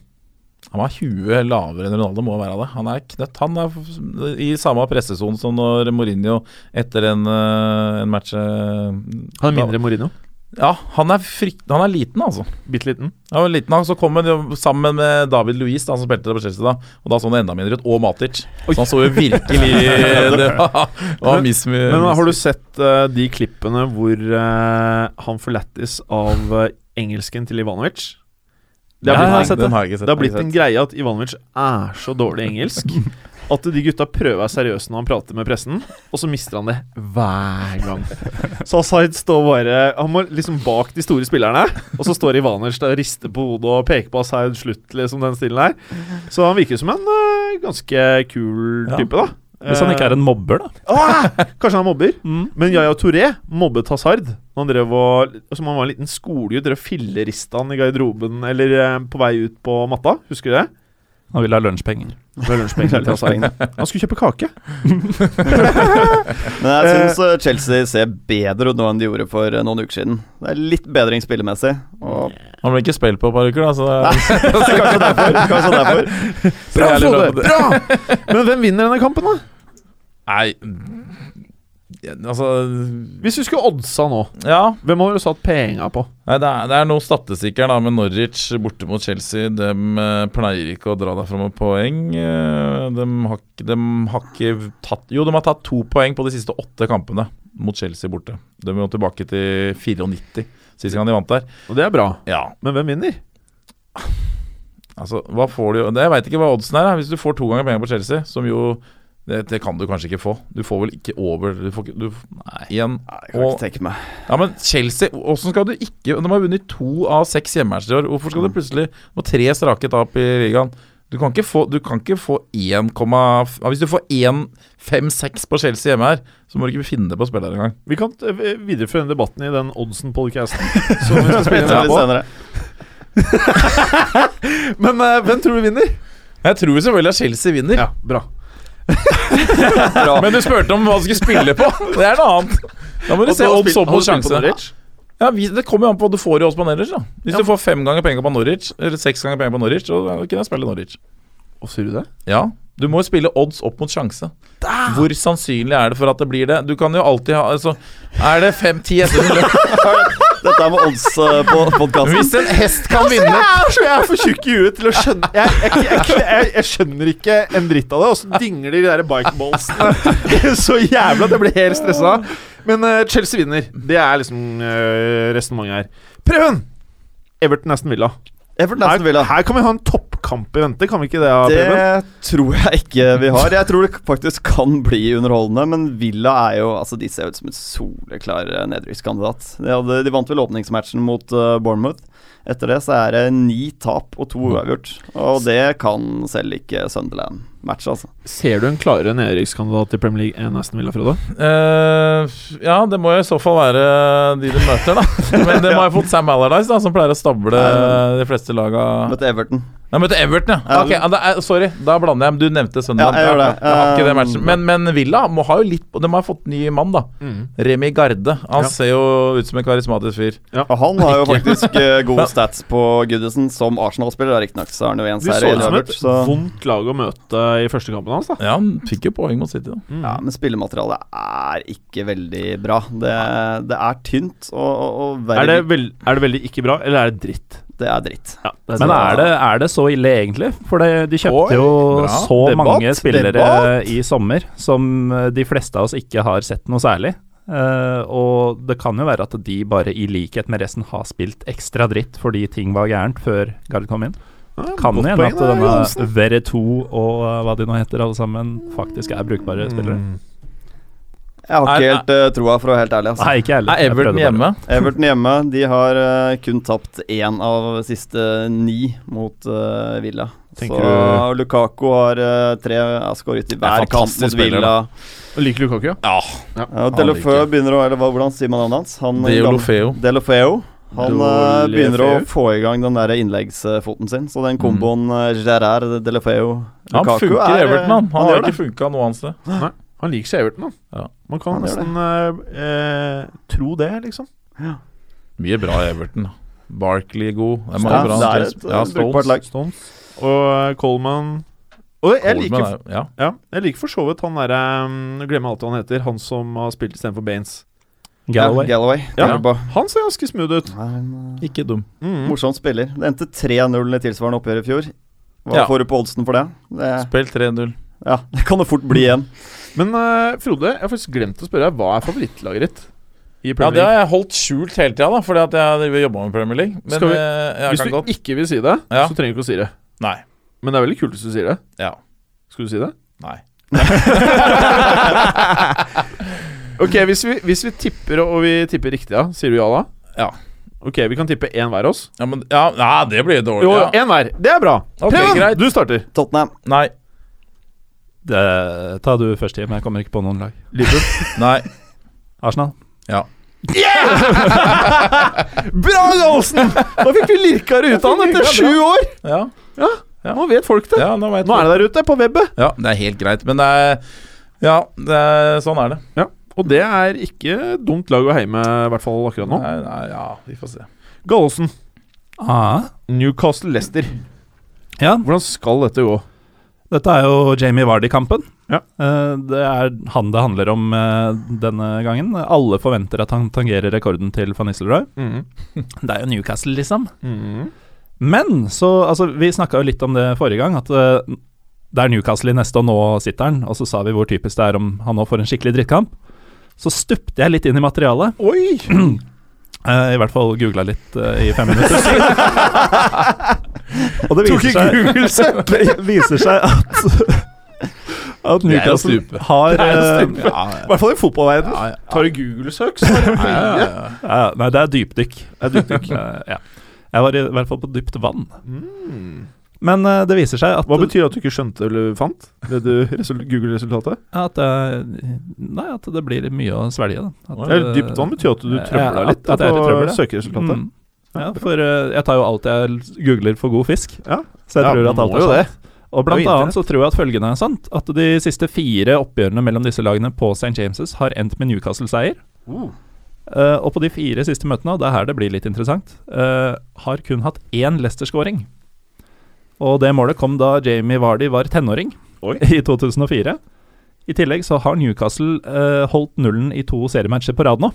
[SPEAKER 6] Han var 20 lavere enn Ronaldo, må være det. Han er knøtt. Han er f- i samme pressesone som når Mourinho etter en, eh, en match eh,
[SPEAKER 3] Han er
[SPEAKER 6] da-
[SPEAKER 3] mindre enn Mourinho.
[SPEAKER 6] Ja, han er, frykt, han er liten, altså.
[SPEAKER 3] Bitte liten.
[SPEAKER 6] Han var liten, han, så kom han jo sammen med David Luiz, da, som spilte det på Chelsea da. Og da så han enda mindre ut. Og Matic. Så han så jo virkelig Det var, var mis,
[SPEAKER 3] Men har du sett eh, de klippene hvor eh, han forlattes av eh, engelsken til Ivanovic? Det har blitt,
[SPEAKER 6] Nei,
[SPEAKER 3] jeg har sett det.
[SPEAKER 6] den har jeg ikke sett.
[SPEAKER 3] Det har blitt en greie at Ivanovic er så dårlig i engelsk at de gutta prøver å være seriøse når han prater med pressen, og så mister han det hver gang. Så Asaid står bare Han må liksom bak de store spillerne, og så står Ivanovic der og rister på hodet og peker på Asaid slutt, liksom den stilen der. Så han virker som en eh, ganske kul
[SPEAKER 4] Ja.
[SPEAKER 3] type, da.
[SPEAKER 4] Hvis han ikke
[SPEAKER 3] Eh.
[SPEAKER 4] er Mm. en mobber, da.
[SPEAKER 3] Ah! Kanskje han mobber. Men Yaya Touré mobbet Hazard. når Han drev og, som han var en liten skolegutt, drev og fillerista han i garderoben eller eh, på vei ut på matta. Husker du det?
[SPEAKER 4] Han vil ha lunsjpenger.
[SPEAKER 3] Det var lunsjpengene til Hazard. Han skulle kjøpe kake.
[SPEAKER 5] Men jeg syns eh, Chelsea ser bedre ut nå enn de gjorde for eh, noen uker siden. Det er litt bedring spillemessig. Og
[SPEAKER 6] Han ble ikke spilt på et par uker, da, så det
[SPEAKER 5] kanskje derfor. Kanskje derfor.
[SPEAKER 6] så jeg er litt glad for det.
[SPEAKER 3] Men hvem vinner denne kampen, da?
[SPEAKER 6] Nei ja, Altså
[SPEAKER 3] Hvis du skulle oddsa nå,
[SPEAKER 6] Ja.
[SPEAKER 3] hvem har du satt penga på?
[SPEAKER 6] Nei, det, er, det er noen statistikker da med Norwich borte mot Chelsea. De pleier ikke å dra derfra med poeng. De har, ikke- dem har ikke tatt Jo, de har tatt to poeng på de siste åtte kampene mot Chelsea borte. De må tilbake til 94 sist gang de vant der.
[SPEAKER 3] Og det er bra,
[SPEAKER 6] Ja,
[SPEAKER 3] men hvem vinner?
[SPEAKER 6] altså hva får du det, Jeg veit ikke hva oddsen er. da. Hvis du får to ganger penger på Chelsea, som jo det, det kan du kanskje ikke få. Du får vel ikke over du får ikke, du, Igjen.
[SPEAKER 5] Nei, jeg kan
[SPEAKER 6] Og-
[SPEAKER 5] ikke tenke meg.
[SPEAKER 6] Ja, men Chelsea, hvordan skal du ikke De har vunnet to av seks hjemmematcher i år. Hvorfor skal du plutselig få tre strake tap i ligaen? Du kan ikke få, du kan ikke få 1, ja, Hvis du får 1,56 på Chelsea hjemme her, så må du ikke finne det på å spille her engang.
[SPEAKER 3] Vi kan eh, videreføre denne debatten i den oddsen-podcasten. som vi skal spille
[SPEAKER 5] Litt
[SPEAKER 3] inn etterpå.
[SPEAKER 5] senere.
[SPEAKER 3] Men eh, hvem tror du vinner?
[SPEAKER 6] Jeg tror jo selvfølgelig at Chelsea vinner,
[SPEAKER 3] Ja, bra.
[SPEAKER 6] men du spurte om hva du skulle spille på. Det er noe annet. Da må du se om så på sjansene. Ja, vi- det kommer jo an på hva du får i odds på Norwich. da Hvis du får fem ganger penger på Norwich, eller seks ganger penger på Norwich, så ja, da kunne jeg spille Norwich.
[SPEAKER 3] Og sier du det?
[SPEAKER 6] Ja, du må jo spille odds opp mot sjanse. Hvor sannsynlig er det for at det blir det? Du kan jo alltid ha altså, Er det fem-ti hester som løper?
[SPEAKER 5] Dette er med odds eh, på podkasten.
[SPEAKER 6] Hvis en hest kan
[SPEAKER 5] altså,
[SPEAKER 6] vinne
[SPEAKER 3] Jeg tror jeg er for tjukk i huet til å skjønne Jeg, jeg, jeg, jeg, jeg skjønner ikke en dritt av det, og så dingler de der bikeballsene så jævla at jeg blir helt stressa. Men eh, Chelsea vinner. Det er liksom uh, resonnementet her. Preben! Everton Aston Villa.
[SPEAKER 5] Everton
[SPEAKER 3] Her,
[SPEAKER 5] Aston Villa.
[SPEAKER 3] her kan vi ha en toppkamp i vente, kan vi ikke det? Preben?
[SPEAKER 5] Det tror jeg ikke vi har. Jeg tror det faktisk kan bli underholdende, men Villa er jo Altså, de ser ut som en soleklar eh, nedrykkskandidat. De, hadde- de vant vel åpningsmatchen mot eh, Bournemouth. Etter det så er det ni tap og
[SPEAKER 3] Mm.
[SPEAKER 5] to uavgjort. Og det kan selv ikke Sunderland matche, altså.
[SPEAKER 3] Ser du en klarere nedrykkskandidat i Premier League enn Aston Villa, Frode?
[SPEAKER 6] Eh, Ja, det må jo i så fall være de de møter, da. Men det må ha fått Sam Allardyce, da, som pleier å stable de fleste laga
[SPEAKER 5] Møtte Everton.
[SPEAKER 6] Jeg møtte Everton, ja. Ok, ja, det er, sorry, da blander jeg. men Du nevnte Sunderland.
[SPEAKER 5] Ja, jeg gjør det.
[SPEAKER 6] Jeg har ikke det matchen.
[SPEAKER 5] Um,
[SPEAKER 6] Men, men Villa må ha jo litt De har fått ny mann, da.
[SPEAKER 3] Mm.
[SPEAKER 6] Remi Garde. Han
[SPEAKER 3] Ja.
[SPEAKER 6] ser jo ut som en karismatisk fyr.
[SPEAKER 5] Og han har jo faktisk eh, gode stats på Goodison som Arsenal-spiller, da, riktignok. Så har han jo en
[SPEAKER 3] De
[SPEAKER 5] seier
[SPEAKER 3] så
[SPEAKER 5] i
[SPEAKER 3] ut som et
[SPEAKER 5] uavgjort, så
[SPEAKER 3] vondt lag å møte i første kampen hans, da.
[SPEAKER 6] Ja, han fikk jo poeng mot City, da.
[SPEAKER 5] ja, Men spillematerialet er ikke veldig bra. Det, det er tynt, og, og, og
[SPEAKER 3] Er det,
[SPEAKER 5] verre,
[SPEAKER 3] vel, er det veldig ikke bra, eller er det dritt?
[SPEAKER 5] det er dritt.
[SPEAKER 3] Ja, det
[SPEAKER 4] Men er det, er det så ille, egentlig? For det, de kjøpte
[SPEAKER 6] Oi,
[SPEAKER 4] jo
[SPEAKER 6] bra.
[SPEAKER 4] så
[SPEAKER 5] Debatt,
[SPEAKER 4] mange spillere
[SPEAKER 5] debatt.
[SPEAKER 4] i sommer som eh, de fleste av oss ikke har sett noe særlig. Eh, og det kan jo være at de bare i likhet med resten har spilt ekstra dritt fordi ting var gærent før Gard kom inn.
[SPEAKER 3] godt
[SPEAKER 4] Kan jo hende
[SPEAKER 3] poeng
[SPEAKER 4] at
[SPEAKER 3] der,
[SPEAKER 4] denne
[SPEAKER 3] Johansen. Mm.
[SPEAKER 4] Vere 2 og eh, hva de nå heter alle sammen, faktisk er brukbare spillere.
[SPEAKER 5] Jeg har
[SPEAKER 6] Er-
[SPEAKER 5] ikke helt eh, troa, for å være helt ærlig. Altså.
[SPEAKER 4] Nei, ikke jeg heller.
[SPEAKER 6] Er
[SPEAKER 4] Jeg prøvde
[SPEAKER 6] Everton
[SPEAKER 4] bare.
[SPEAKER 6] hjemme?
[SPEAKER 5] Everton hjemme de har eh, kun tapt én av siste ni mot eh, Villa.
[SPEAKER 3] Tenker
[SPEAKER 5] så Lukaku har eh, tre ja, skåret i hver kamp
[SPEAKER 6] fantastisk
[SPEAKER 5] mot
[SPEAKER 6] spiller,
[SPEAKER 5] Villa.
[SPEAKER 3] Liker Lukaku, ja.
[SPEAKER 6] Ja.
[SPEAKER 5] Ja,
[SPEAKER 6] Han
[SPEAKER 5] Delofeu
[SPEAKER 6] liker.
[SPEAKER 5] begynner å Eller hva, hvordan sier man navnet hans? Han,
[SPEAKER 6] Deolofeo.
[SPEAKER 5] Delofeu. Han eh,
[SPEAKER 6] Deulofeu.
[SPEAKER 5] begynner å få i gang den der innleggsfoten sin. Så den komboen eh, Gerrard, Delofeu,
[SPEAKER 6] Mm. Han
[SPEAKER 5] Lukaku
[SPEAKER 6] funker i
[SPEAKER 5] er, eh,
[SPEAKER 6] Everton, han. Han,
[SPEAKER 5] gjør
[SPEAKER 6] har
[SPEAKER 5] det.
[SPEAKER 6] ikke funka noe annet sted.
[SPEAKER 3] Han liker seg Everton, da.
[SPEAKER 6] Ja.
[SPEAKER 3] Man kan
[SPEAKER 5] Han gjør
[SPEAKER 3] nesten eh, eh, tro det, liksom.
[SPEAKER 6] Mye bra i Everton. da. Barkley god. Det er mange
[SPEAKER 5] Ja,
[SPEAKER 6] bra
[SPEAKER 5] det er et
[SPEAKER 6] spillere. Ja,
[SPEAKER 5] eh, brukbart lag.
[SPEAKER 3] Stones og eh, Coleman Og jeg liker,
[SPEAKER 6] Coleman er- ja.
[SPEAKER 3] ja, jeg liker for så vidt han derre um, Glemmer alltid hva han heter. Han som har spilt istedenfor Baines.
[SPEAKER 5] Galloway.
[SPEAKER 4] Galloway.
[SPEAKER 5] Galloway.
[SPEAKER 3] Ja.
[SPEAKER 5] Drogba.
[SPEAKER 3] Han ser ganske smooth ut.
[SPEAKER 5] Nei, han, eh,
[SPEAKER 6] Ikke dum.
[SPEAKER 3] Mm.
[SPEAKER 5] Morsom spiller. Det endte 3-0 i tilsvarende oppgjør i fjor. Hva
[SPEAKER 6] Ja.
[SPEAKER 5] får du på oddsen for det? det
[SPEAKER 6] Spill 3-0.
[SPEAKER 5] ja, det kan det fort bli igjen.
[SPEAKER 3] Men eh, Frode, jeg har faktisk glemt å spørre deg. Hva er favorittlaget ditt i
[SPEAKER 6] Ja, det
[SPEAKER 3] Premier League?
[SPEAKER 6] har jeg holdt skjult hele tida, da, fordi at jeg jobba med Premier League. Men
[SPEAKER 3] Skal vi-
[SPEAKER 6] eh, jeg
[SPEAKER 3] Hvis
[SPEAKER 6] kan
[SPEAKER 3] du
[SPEAKER 6] godt
[SPEAKER 3] ikke vil si det,
[SPEAKER 6] Ja.
[SPEAKER 3] så trenger du ikke å si det.
[SPEAKER 6] Nei.
[SPEAKER 3] Men det er veldig kult hvis du sier det.
[SPEAKER 6] Ja.
[SPEAKER 3] Skal du si det?
[SPEAKER 6] Nei.
[SPEAKER 3] Ok, hvis vi, hvis vi tipper, og vi tipper riktig, ja, sier du ja da?
[SPEAKER 6] Ja.
[SPEAKER 3] Ok, vi kan tippe én hver oss.
[SPEAKER 6] Ja, men ja, Nei, det blir dårlig.
[SPEAKER 3] Jo,
[SPEAKER 6] ja.
[SPEAKER 3] én hver. Det er bra.
[SPEAKER 6] Ok,
[SPEAKER 3] Preben,
[SPEAKER 6] greit.
[SPEAKER 3] du starter.
[SPEAKER 5] Tottenham.
[SPEAKER 6] Nei.
[SPEAKER 4] Det, Eh, ta du først, Jim. Jeg kommer ikke på noen lag.
[SPEAKER 6] Nei.
[SPEAKER 4] Arsenal.
[SPEAKER 3] Bra, Olsen! Nå fikk vi lirka det ut av han etter sju år!
[SPEAKER 6] Ja.
[SPEAKER 3] Nå vet folk det.
[SPEAKER 6] ja nå, vet
[SPEAKER 3] Nå er
[SPEAKER 6] vi.
[SPEAKER 3] det der ute, på webbet.
[SPEAKER 6] Ja, det er helt greit, men det er Ja, det er, sånn er det.
[SPEAKER 3] Og det er ikke dumt lag å heie med, i hvert fall akkurat nå.
[SPEAKER 6] Nei, nei, ja, vi får se.
[SPEAKER 3] Gallosen,
[SPEAKER 4] Ah.
[SPEAKER 3] Newcastle Leicester.
[SPEAKER 4] Ja,
[SPEAKER 3] Hvordan skal dette gå?
[SPEAKER 4] Dette er jo Jamie Vardy-kampen.
[SPEAKER 3] Ja.
[SPEAKER 4] Eh, det er han det handler om eh, denne gangen. Alle forventer at han tangerer rekorden til van Nistelrooy.
[SPEAKER 6] Mm.
[SPEAKER 4] Det er jo Newcastle, liksom.
[SPEAKER 3] Mm.
[SPEAKER 4] Men så Altså, vi snakka jo litt om det forrige gang, at eh, det er Newcastle i neste, og nå sitter han. Og så sa vi hvor typisk det er om han nå får en skikkelig drittkamp. Så stupte jeg litt inn i materialet.
[SPEAKER 3] Oi!
[SPEAKER 4] Eh, I hvert fall googla litt eh, i fem minutter. og det
[SPEAKER 3] Tok
[SPEAKER 4] viser
[SPEAKER 3] ikke
[SPEAKER 4] seg
[SPEAKER 3] Google seg!
[SPEAKER 4] det viser seg at at
[SPEAKER 6] er jo
[SPEAKER 4] Newcastle
[SPEAKER 6] stupe.
[SPEAKER 4] har eh,
[SPEAKER 6] Ja,
[SPEAKER 3] I hvert fall i fotballverdenen.
[SPEAKER 6] ja, ja.
[SPEAKER 3] Tar du Google-søk, så er det
[SPEAKER 6] Ja, ja,
[SPEAKER 3] mye.
[SPEAKER 6] ja.
[SPEAKER 4] ja, ja, Nei, det er dypdykk. Det er dypdykk. Eh, ja. Jeg var i hvert fall på dypt vann. Men eh, det viser seg at
[SPEAKER 3] Mm. Hva betyr at du ikke skjønte eller fant det du resul- Google-resultatet?
[SPEAKER 4] at, eh, nei, at det blir mye å svelge, da. At,
[SPEAKER 3] Det er
[SPEAKER 4] eh,
[SPEAKER 3] dypt vann betyr at du
[SPEAKER 4] eh,
[SPEAKER 3] trøbler
[SPEAKER 4] at-
[SPEAKER 3] litt
[SPEAKER 4] at jeg er litt
[SPEAKER 3] på
[SPEAKER 4] trøbbel, ja.
[SPEAKER 3] søkeresultatet.
[SPEAKER 4] Mm. Ja, for eh, jeg tar jo alt jeg googler for god fisk.
[SPEAKER 3] Ja.
[SPEAKER 4] Så jeg
[SPEAKER 3] Ja,
[SPEAKER 4] tror
[SPEAKER 3] man
[SPEAKER 4] at alt
[SPEAKER 3] må
[SPEAKER 4] er
[SPEAKER 3] jo
[SPEAKER 4] sant.
[SPEAKER 3] det. Det
[SPEAKER 4] Og
[SPEAKER 3] er
[SPEAKER 4] blant
[SPEAKER 3] jo
[SPEAKER 4] annet så tror jeg at følgende er sant. At de siste fire oppgjørene mellom disse lagene på St. James' har endt med Newcastle-seier.
[SPEAKER 3] Uh.
[SPEAKER 4] Eh, og på de fire siste møtene, og det er her det blir litt interessant, eh, har kun hatt én Leicester-skåring. Og det målet kom da Jamie Vardy var tenåring
[SPEAKER 3] Oi.
[SPEAKER 4] i 2004. I tillegg så har Newcastle eh, holdt nullen i to seriematcher på rad nå.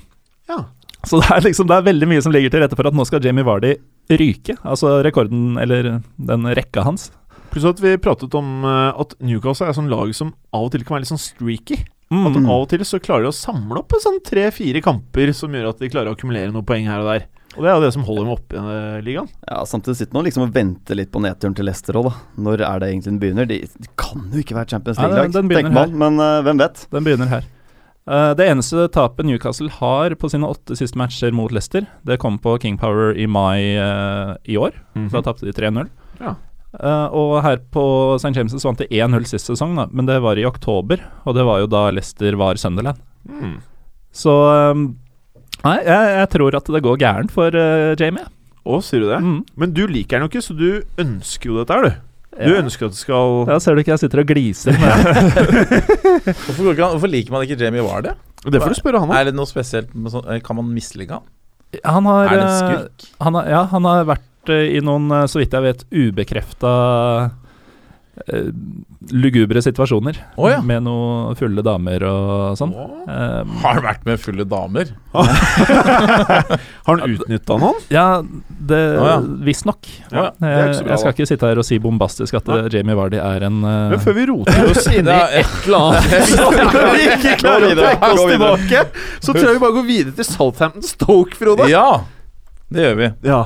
[SPEAKER 3] Ja.
[SPEAKER 4] Så det er liksom det er veldig mye som ligger til rette for at nå skal Jamie Vardy ryke. Altså rekorden, eller den rekka hans,
[SPEAKER 3] Pluss at vi pratet om eh, at Newcastle er et sånn lag som av og til kan være litt sånn streaky. At
[SPEAKER 5] Mm.
[SPEAKER 3] Av og til så klarer de å samle opp en sånn tre-fire kamper som gjør at de klarer å akkumulere noen poeng her og der. Og det er jo det som holder dem oppe i eh, ligaen.
[SPEAKER 5] Ja, Samtidig sitter man liksom og venter litt på nedturen til Leicester òg, da. Når er det egentlig den begynner? De, de kan jo ikke være Champions
[SPEAKER 4] Nei, den-
[SPEAKER 5] League-lag,
[SPEAKER 4] den begynner
[SPEAKER 5] tenker man. Men eh, hvem vet?
[SPEAKER 4] Den begynner her. Eh, det eneste tapet Newcastle har på sine åtte siste matcher mot Leicester, det kom på King Power i mai eh, i år. Da tapte de
[SPEAKER 3] Mhm.
[SPEAKER 4] 3-0.
[SPEAKER 3] Ja.
[SPEAKER 4] Eh, og her på St. James' vant de 1-0 sist sesong, da, men det var i oktober. Og det var jo da Leicester var Sunderland.
[SPEAKER 3] Mm.
[SPEAKER 4] Så ehm, Nei, jeg, jeg tror at det går gærent for eh, Jamie.
[SPEAKER 3] Å, sier du det?
[SPEAKER 4] Mm.
[SPEAKER 3] Men du liker den jo ikke, så du ønsker jo dette her, du. Du
[SPEAKER 4] Ja.
[SPEAKER 3] ønsker at det skal
[SPEAKER 4] Ja, ser du ikke jeg sitter og gliser? Men,
[SPEAKER 6] Hvorfor, går ikke han- hvorfor liker man ikke Jamie Wardy?
[SPEAKER 3] Det får du spørre han om.
[SPEAKER 6] Er det noe spesielt med sånn Kan man mislike han?
[SPEAKER 4] han har
[SPEAKER 6] Er det en
[SPEAKER 4] eh,
[SPEAKER 6] skurk?
[SPEAKER 4] Han har, ja, han har vært eh, i noen, eh, så vidt jeg vet, ubekrefta eh, lugubre situasjoner.
[SPEAKER 6] Å, ja.
[SPEAKER 4] Med noen fulle damer og sånn. Eh,
[SPEAKER 6] Har han vært med fulle damer?
[SPEAKER 3] Har han utnytta noen?
[SPEAKER 4] ja, det
[SPEAKER 6] ja.
[SPEAKER 4] Visstnok.
[SPEAKER 6] Ja,
[SPEAKER 4] Eh,
[SPEAKER 3] det er ikke så bra,
[SPEAKER 4] jeg skal ikke sitte her og si bombastisk at eh, Jamie Vardy er en eh,
[SPEAKER 3] Men før vi roter oss inn i
[SPEAKER 6] et eller
[SPEAKER 3] Når vi ikke klarer å
[SPEAKER 5] videre,
[SPEAKER 3] trekke
[SPEAKER 5] gå
[SPEAKER 3] oss
[SPEAKER 5] videre.
[SPEAKER 3] tilbake, så tror jeg vi bare går videre til Southampton Stoke, Frode.
[SPEAKER 6] Ja, det gjør vi.
[SPEAKER 3] Ja.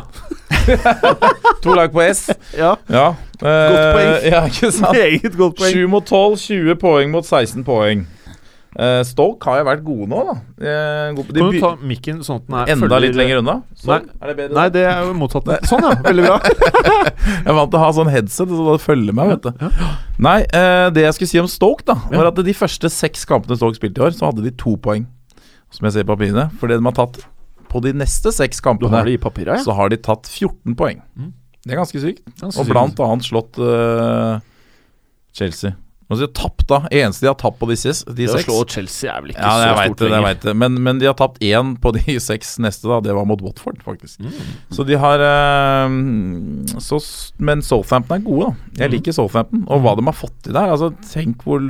[SPEAKER 6] To lag på S.
[SPEAKER 3] Ja.
[SPEAKER 6] Ja. eh,
[SPEAKER 3] Godt poeng.
[SPEAKER 6] Ja, ikke sant?
[SPEAKER 3] Meget godt poeng.
[SPEAKER 6] 7 mot 12, 20 poeng mot 16 poeng. Eh, Stoke har jo vært gode nå, da. Eh, gode på, de
[SPEAKER 3] Kan du
[SPEAKER 6] by-
[SPEAKER 3] ta mikken sånn at den er
[SPEAKER 6] enda
[SPEAKER 3] følger-
[SPEAKER 6] litt lenger unna? Sånn,
[SPEAKER 3] Nei.
[SPEAKER 6] er det bedre?
[SPEAKER 3] Nei, det er jo motsatt. Sånn, ja. Veldig bra.
[SPEAKER 6] Jeg er vant til å ha sånn headset, så det følger meg, vet du. Nei, eh, det jeg skulle si om Stoke, da, var at de første seks kampene Stoke spilte i år, så hadde de to poeng, som jeg ser i papirene. For det de har tatt på de neste seks
[SPEAKER 3] Du
[SPEAKER 6] kampene,
[SPEAKER 3] har det i papiret, ja. Mm.
[SPEAKER 6] så har de tatt 14 poeng. Det er ganske sykt.
[SPEAKER 3] Ganske
[SPEAKER 6] Og blant annet slått eh, Chelsea. Altså, de har tapt, da. Eneste de har tapt på de seks. De
[SPEAKER 3] Det å
[SPEAKER 6] seks.
[SPEAKER 3] slå Chelsea er vel ikke
[SPEAKER 6] Ja, jeg
[SPEAKER 3] så
[SPEAKER 6] vet
[SPEAKER 3] stort
[SPEAKER 6] det, jeg
[SPEAKER 3] lenger.
[SPEAKER 6] vet det. Men, men de har tapt én på de seks neste, da. Det var mot Watford, faktisk.
[SPEAKER 3] Mm.
[SPEAKER 6] Så de har eh, så, s- Men Southampton er gode, da. Jeg liker Southampton. Og hva de har fått til der. Altså, tenk hvor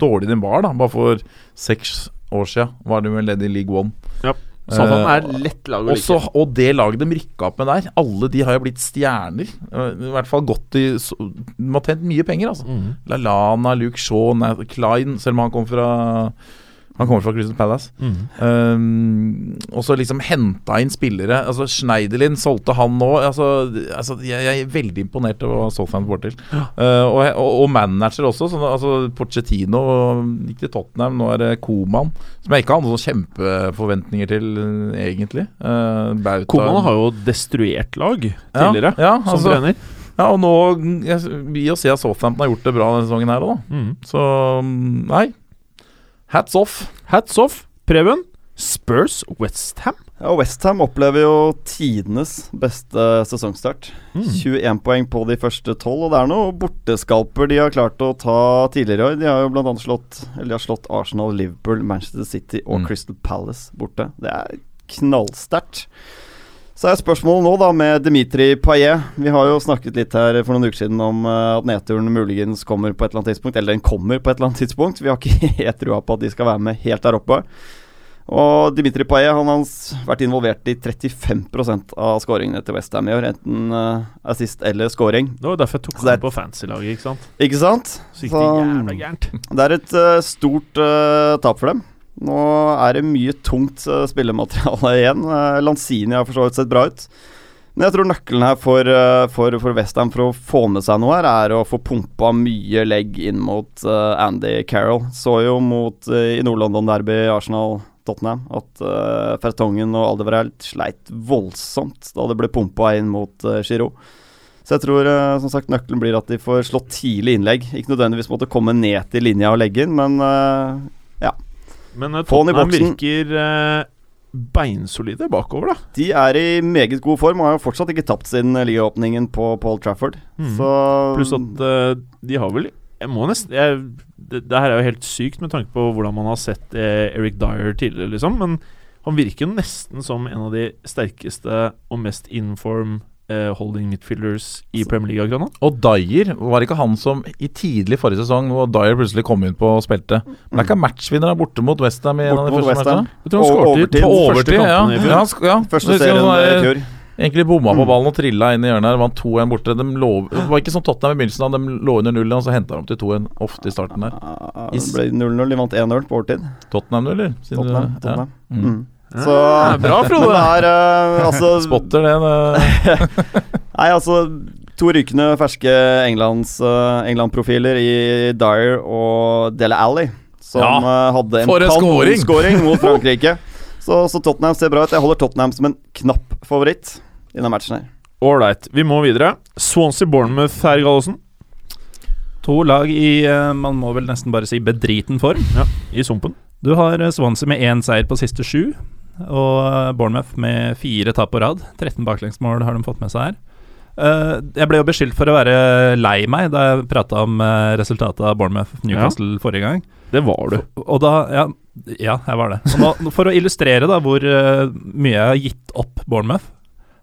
[SPEAKER 6] dårlig de var, da. Bare for seks år siden var de vel ledd i League One.
[SPEAKER 3] Ja. Southampton er lett lag å
[SPEAKER 6] Også,
[SPEAKER 3] like.
[SPEAKER 6] og det laget de rykka opp med der, alle de har jo blitt stjerner. I hvert fall gått i så- De har tjent mye penger, altså. LaLana, Luke Shaw, Nath- Klein, selv om han kom fra han kommer fra Crystal Palace. Um, og så liksom henta inn spillere. Altså Schneiderlin solgte han nå. Altså, altså jeg, jeg er veldig imponert over hva Southampton får til. Uh, og, og, og manager også. Sånn, altså Pochettino gikk til Tottenham, nå er det Koman. Som jeg ikke hadde noen kjempeforventninger til, uh, egentlig. Uh, Bauta
[SPEAKER 3] Koman har jo destruert lag tidligere
[SPEAKER 6] ja, ja,
[SPEAKER 3] som
[SPEAKER 6] altså,
[SPEAKER 3] trener.
[SPEAKER 6] ja, og nå jeg, Vi å se at Southampton har gjort det bra denne sesongen her òg, da.
[SPEAKER 3] Mm.
[SPEAKER 6] Så um, nei. Hats off.
[SPEAKER 3] Hats off, Preben. Spurs Westham.
[SPEAKER 5] Ja, og Westham opplever jo tidenes beste sesongstart.
[SPEAKER 3] Mm.
[SPEAKER 5] 21 poeng på de første 12, og det er noe borteskalper de har klart å ta tidligere i år. De har jo blant annet slått, eller de har slått Arsenal, Liverpool, Manchester City og
[SPEAKER 6] Mm.
[SPEAKER 5] Crystal Palace borte. Det er knallsterkt. Så er spørsmålet nå da med Dimitri Payet. Vi har jo snakket litt her for noen uker siden om eh, at nedturen muligens kommer på et eller annet tidspunkt. Eller den kommer på et eller annet tidspunkt. Vi har ikke helt trua på at de skal være med helt der oppe. Og Dimitri Payet han har s- vært involvert i 35 av skåringene til Westham i år. Enten eh, assist eller scoring.
[SPEAKER 3] Det var derfor jeg tok
[SPEAKER 5] Så det er-
[SPEAKER 3] den på fancy-laget, ikke sant.
[SPEAKER 5] Ikke sant?
[SPEAKER 3] Så gikk det
[SPEAKER 5] Så- mm.
[SPEAKER 3] jævla gærent.
[SPEAKER 5] Det er et eh, stort eh, tap for dem. Nå er det mye tungt eh, spillemateriale igjen. Eh, Lanzini har for så vidt sett bra ut. Men jeg tror nøkkelen her for, eh, for, for Westham for å få med seg noe her, er å få pumpa mye legg inn mot eh, Andy Carroll. Så jo mot, eh, i Nord-London Derby Arsenal-Tottenham at uh, Fertongen og Aldeverelt sleit voldsomt da det ble pumpa inn mot uh, Giroud. Så jeg tror eh, som sagt nøkkelen blir at de får slått tidlig innlegg. Ikke nødvendigvis måtte komme ned til linja og legge inn, men eh,
[SPEAKER 3] Men eh,
[SPEAKER 5] Få den i
[SPEAKER 3] Tottenham
[SPEAKER 5] boksen.
[SPEAKER 3] virker eh, beinsolide bakover, da.
[SPEAKER 5] de er i meget god form og har jo fortsatt ikke tapt siden ligaåpningen på Paul Trafford.
[SPEAKER 6] Mm.
[SPEAKER 5] Så
[SPEAKER 3] Pluss at eh, de har vel Jeg må nesten jeg, det, det her er jo helt sykt med tanke på hvordan man har sett eh, Eric Dyer tidligere, liksom. Men han virker jo nesten som en av de sterkeste og mest inform eh, holding midfielders i Premier League akkurat nå.
[SPEAKER 6] Og Dyer, var ikke han som i tidlig forrige sesong hvor Dyer plutselig kom inn på og spilte? Men det er ikke han matchvinner da, borte mot Westham i en av de
[SPEAKER 5] Borte mot
[SPEAKER 6] første
[SPEAKER 5] West Ham.
[SPEAKER 6] matchene?
[SPEAKER 3] Jeg tror han
[SPEAKER 5] Og
[SPEAKER 3] skåret i
[SPEAKER 5] overtid.
[SPEAKER 3] to
[SPEAKER 6] På
[SPEAKER 3] første
[SPEAKER 6] overtid, ja.
[SPEAKER 3] kampene i fjor.
[SPEAKER 6] ja, han sk- ja.
[SPEAKER 5] Første
[SPEAKER 6] Det husker jeg
[SPEAKER 5] serien
[SPEAKER 6] han
[SPEAKER 5] eh, i
[SPEAKER 6] der-
[SPEAKER 5] fjor. Mm.
[SPEAKER 6] Egentlig bomma på ballen og trilla inn i hjørnet her. Vant 2-1 borte. De lå, det var ikke som Tottenham i begynnelsen, da. de lå under null, og så henta de til 2-1 ofte i starten der.
[SPEAKER 5] Ja,
[SPEAKER 6] I
[SPEAKER 5] Det
[SPEAKER 6] s-
[SPEAKER 5] ble 0-0, de vant 1-0 på overtid.
[SPEAKER 6] Tottenham, du, eller? Siden du-
[SPEAKER 5] Tottenham. Tottenham.
[SPEAKER 6] eh, Ja. Mm.
[SPEAKER 5] Mm. Så
[SPEAKER 3] Ja, bra,
[SPEAKER 5] Men det
[SPEAKER 3] Frode.
[SPEAKER 5] er eh, altså
[SPEAKER 6] Spotter det. det.
[SPEAKER 5] Nei, altså To rykende ferske Englands, eh, England-profiler i Dyer og Dele Alli, som
[SPEAKER 6] Ja,
[SPEAKER 5] eh, hadde en
[SPEAKER 6] for en scoring!
[SPEAKER 5] kanonscoring mot Frankrike. så, så Tottenham ser bra ut. Jeg holder Tottenham som en knapp favoritt i denne matchen her.
[SPEAKER 3] Ålreit, vi må videre. Swansea Bournemouth, herr Gallosen.
[SPEAKER 4] To lag i eh, man må vel nesten bare si bedriten form.
[SPEAKER 3] I sumpen.
[SPEAKER 4] Du har eh, Swansea med én seier på siste sju, og eh, Bournemouth med fire tap på rad. 13 baklengsmål har de fått med seg her. Eh, jeg ble jo beskyldt for å være lei meg da jeg prata om eh, resultatet av Bournemouth-Newcastle forrige gang.
[SPEAKER 3] Det var du.
[SPEAKER 4] Og da Ja, ja jeg var det. Og nå, for å illustrere da hvor eh, mye jeg har gitt opp Bournemouth,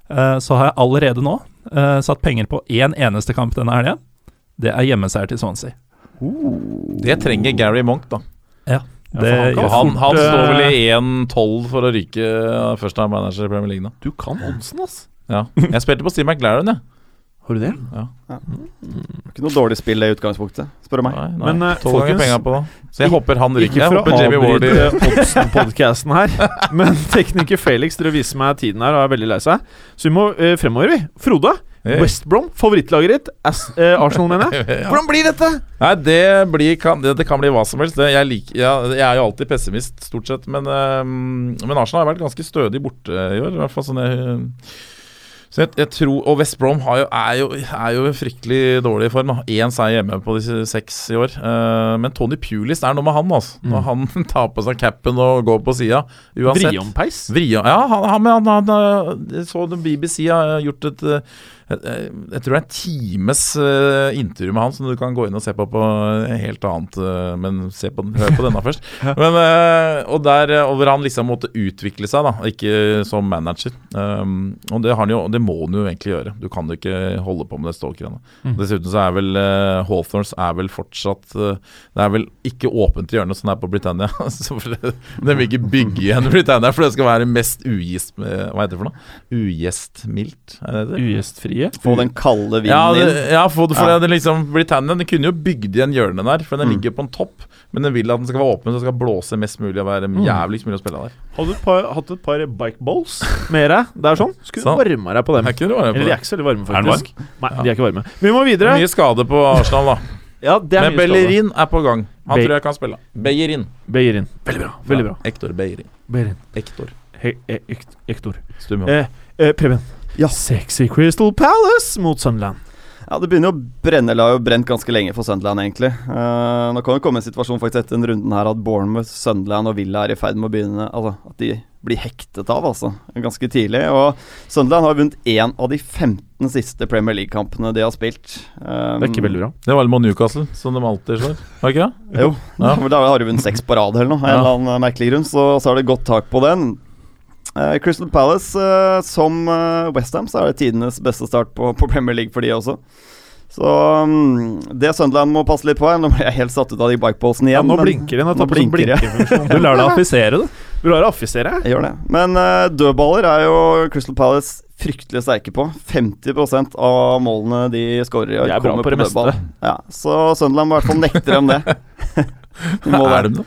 [SPEAKER 4] eh, så har jeg allerede nå eh, satt penger på én eneste kamp denne helgen. Det er hjemmeseier til Swansea.
[SPEAKER 6] Det trenger Gary Monk, da.
[SPEAKER 4] Det,
[SPEAKER 3] for han kan
[SPEAKER 4] gjør
[SPEAKER 6] Han,
[SPEAKER 4] fort,
[SPEAKER 6] han står
[SPEAKER 4] eh,
[SPEAKER 6] vel i 1-12 for å ryke eh, først av manager i Premier League nå.
[SPEAKER 3] Du kan oddsen, ass.
[SPEAKER 6] Ja. Jeg spilte på Steve McLaren, jeg.
[SPEAKER 3] Har du det?
[SPEAKER 5] Det var Ikke noe dårlig spill i utgangspunktet, spør du meg.
[SPEAKER 6] Nei, nei.
[SPEAKER 3] Men, eh,
[SPEAKER 6] Tolv ganger
[SPEAKER 3] folkens,
[SPEAKER 6] penger på det. Så jeg håper han ryker.
[SPEAKER 3] Ikke
[SPEAKER 6] Jeg
[SPEAKER 3] for
[SPEAKER 6] håper
[SPEAKER 3] å
[SPEAKER 6] Jamie Ward i
[SPEAKER 3] avbryte Oddsen-podcasten her, men tekniker Felix driver og viser meg tiden her og er veldig lei seg. Så vi må eh, fremover, vi. Frode,
[SPEAKER 6] Hey.
[SPEAKER 3] West Brom, favorittlaget ditt. As, eh, Arsenal, mener jeg.
[SPEAKER 6] Ja.
[SPEAKER 3] Hvordan blir dette?
[SPEAKER 6] Nei, det, blir, kan, det, det kan bli hva som helst. Det, jeg, liker, ja, jeg er jo alltid pessimist, stort sett. Men, eh, men Arsenal har vært ganske stødig borte i år. I hvert fall sånn jeg, så jeg, jeg tror, Og West Brom har jo, er, jo, er jo i fryktelig dårlig form. da. Én seier hjemme på de seks i år. Eh, men Tony Pulis, det er noe med han. altså. Når han tar på seg capen og går på sida. Uansett.
[SPEAKER 3] Vriompeis.
[SPEAKER 6] Vria, ja, han, han, men han, han eh, så det BBC har gjort et, eh, et, eh, Jeg tror det er en times eh, intervju med han som du kan gå inn og se på på eh, helt annet eh, Men se på, den- hør på denne først. Men, eh, og der eh, og hvor han liksom måtte utvikle seg, da. Ikke som manager. Um, og det, har han jo, det må han jo egentlig gjøre. Du kan jo ikke holde på med det stalkerne. Dessuten så er vel uh, Hawthorns er vel fortsatt eh, Det er vel ikke åpent hjørne som det er på Britannia. Så for det, de vil ikke bygge igjen Britannia, for det skal være mest ugjest... eh, Hva heter det for noe? Ugjestmildt? Er det det?
[SPEAKER 4] Ugjestfrie.
[SPEAKER 5] Få den kalde vinden
[SPEAKER 6] Ja,
[SPEAKER 5] inn.
[SPEAKER 6] det, ja for, for
[SPEAKER 5] Ja.
[SPEAKER 6] Det, liksom, Britannia de kunne jo bygd igjen hjørnet der, for
[SPEAKER 3] Mm.
[SPEAKER 6] den ligger på en topp. Men den vil at den skal være åpen, så det skal blåse mest mulig og være
[SPEAKER 3] Mm.
[SPEAKER 6] jævligst mulig å spille der.
[SPEAKER 3] Hadde du et par, hatt et par bike balls med deg? Det er sånn. Skulle
[SPEAKER 6] Sant.
[SPEAKER 3] du varma deg på dem.
[SPEAKER 6] Er ikke det rare på
[SPEAKER 3] Eller de er
[SPEAKER 6] det?
[SPEAKER 3] ikke så veldig varme,
[SPEAKER 4] Er den
[SPEAKER 3] faktisk. Nei, de er ikke varme. Vi må videre.
[SPEAKER 6] Mye skade på Arsenal, da.
[SPEAKER 3] Ja, det er
[SPEAKER 6] Men
[SPEAKER 3] mye skade.
[SPEAKER 6] Bellerin er på gang. Han
[SPEAKER 3] Be-
[SPEAKER 6] tror jeg kan spille. Bellerin.
[SPEAKER 3] Bellerin. Veldig bra. Veldig bra.
[SPEAKER 6] Ektor Bellerin.
[SPEAKER 3] Bellerin.
[SPEAKER 6] Ektor.
[SPEAKER 3] He e ek- Ektor.
[SPEAKER 6] Stum.
[SPEAKER 3] Eh, eh, Preben.
[SPEAKER 5] Ja.
[SPEAKER 3] Sexy Crystal Palace mot Sunderland.
[SPEAKER 5] Ja, det begynner jo å brenne. Eller har jo brent ganske lenge for Sunderland, egentlig. Eh, nå kan det komme en situasjon faktisk etter den runden her at Bournemouth, Sunderland og Villa er i ferd med å begynne Altså, at de blir hektet av, altså. Ganske tidlig. Og Sunderland har vunnet én av de 15 siste Premier League-kampene de har spilt. Um,
[SPEAKER 3] Det er ikke veldig bra.
[SPEAKER 6] Det var vel mot Newcastle, som de alltid slår. Var det ikke det?
[SPEAKER 5] Jo,
[SPEAKER 6] Ja.
[SPEAKER 5] men da har de vunnet seks på rad eller noe, av en
[SPEAKER 6] Ja.
[SPEAKER 5] eller annen eh, merkelig grunn, så, så er det godt tak på den. Eh, Crystal Palace, eh, som eh, West Ham, så er det tidenes beste start på, på Premier League for de også. Så mm, det Sunderland må passe litt på her Nå ble jeg helt satt ut av de bikeballsene
[SPEAKER 3] Ja,
[SPEAKER 5] igjen.
[SPEAKER 3] nå
[SPEAKER 5] men-
[SPEAKER 3] blinker den.
[SPEAKER 5] nå blinker jeg.
[SPEAKER 3] blinker
[SPEAKER 4] Du lar deg affisere, du.
[SPEAKER 3] Du lar det affisere.
[SPEAKER 5] Jeg gjør det. Men eh, dødballer er jo Crystal Palace fryktelig sterke på. 50 av målene de skårer i år,
[SPEAKER 4] De er bra
[SPEAKER 5] kommer
[SPEAKER 4] på det
[SPEAKER 5] dødball. Ja, så Sunderland må i hvert fall nekte dem det. De må det.
[SPEAKER 6] Er de det?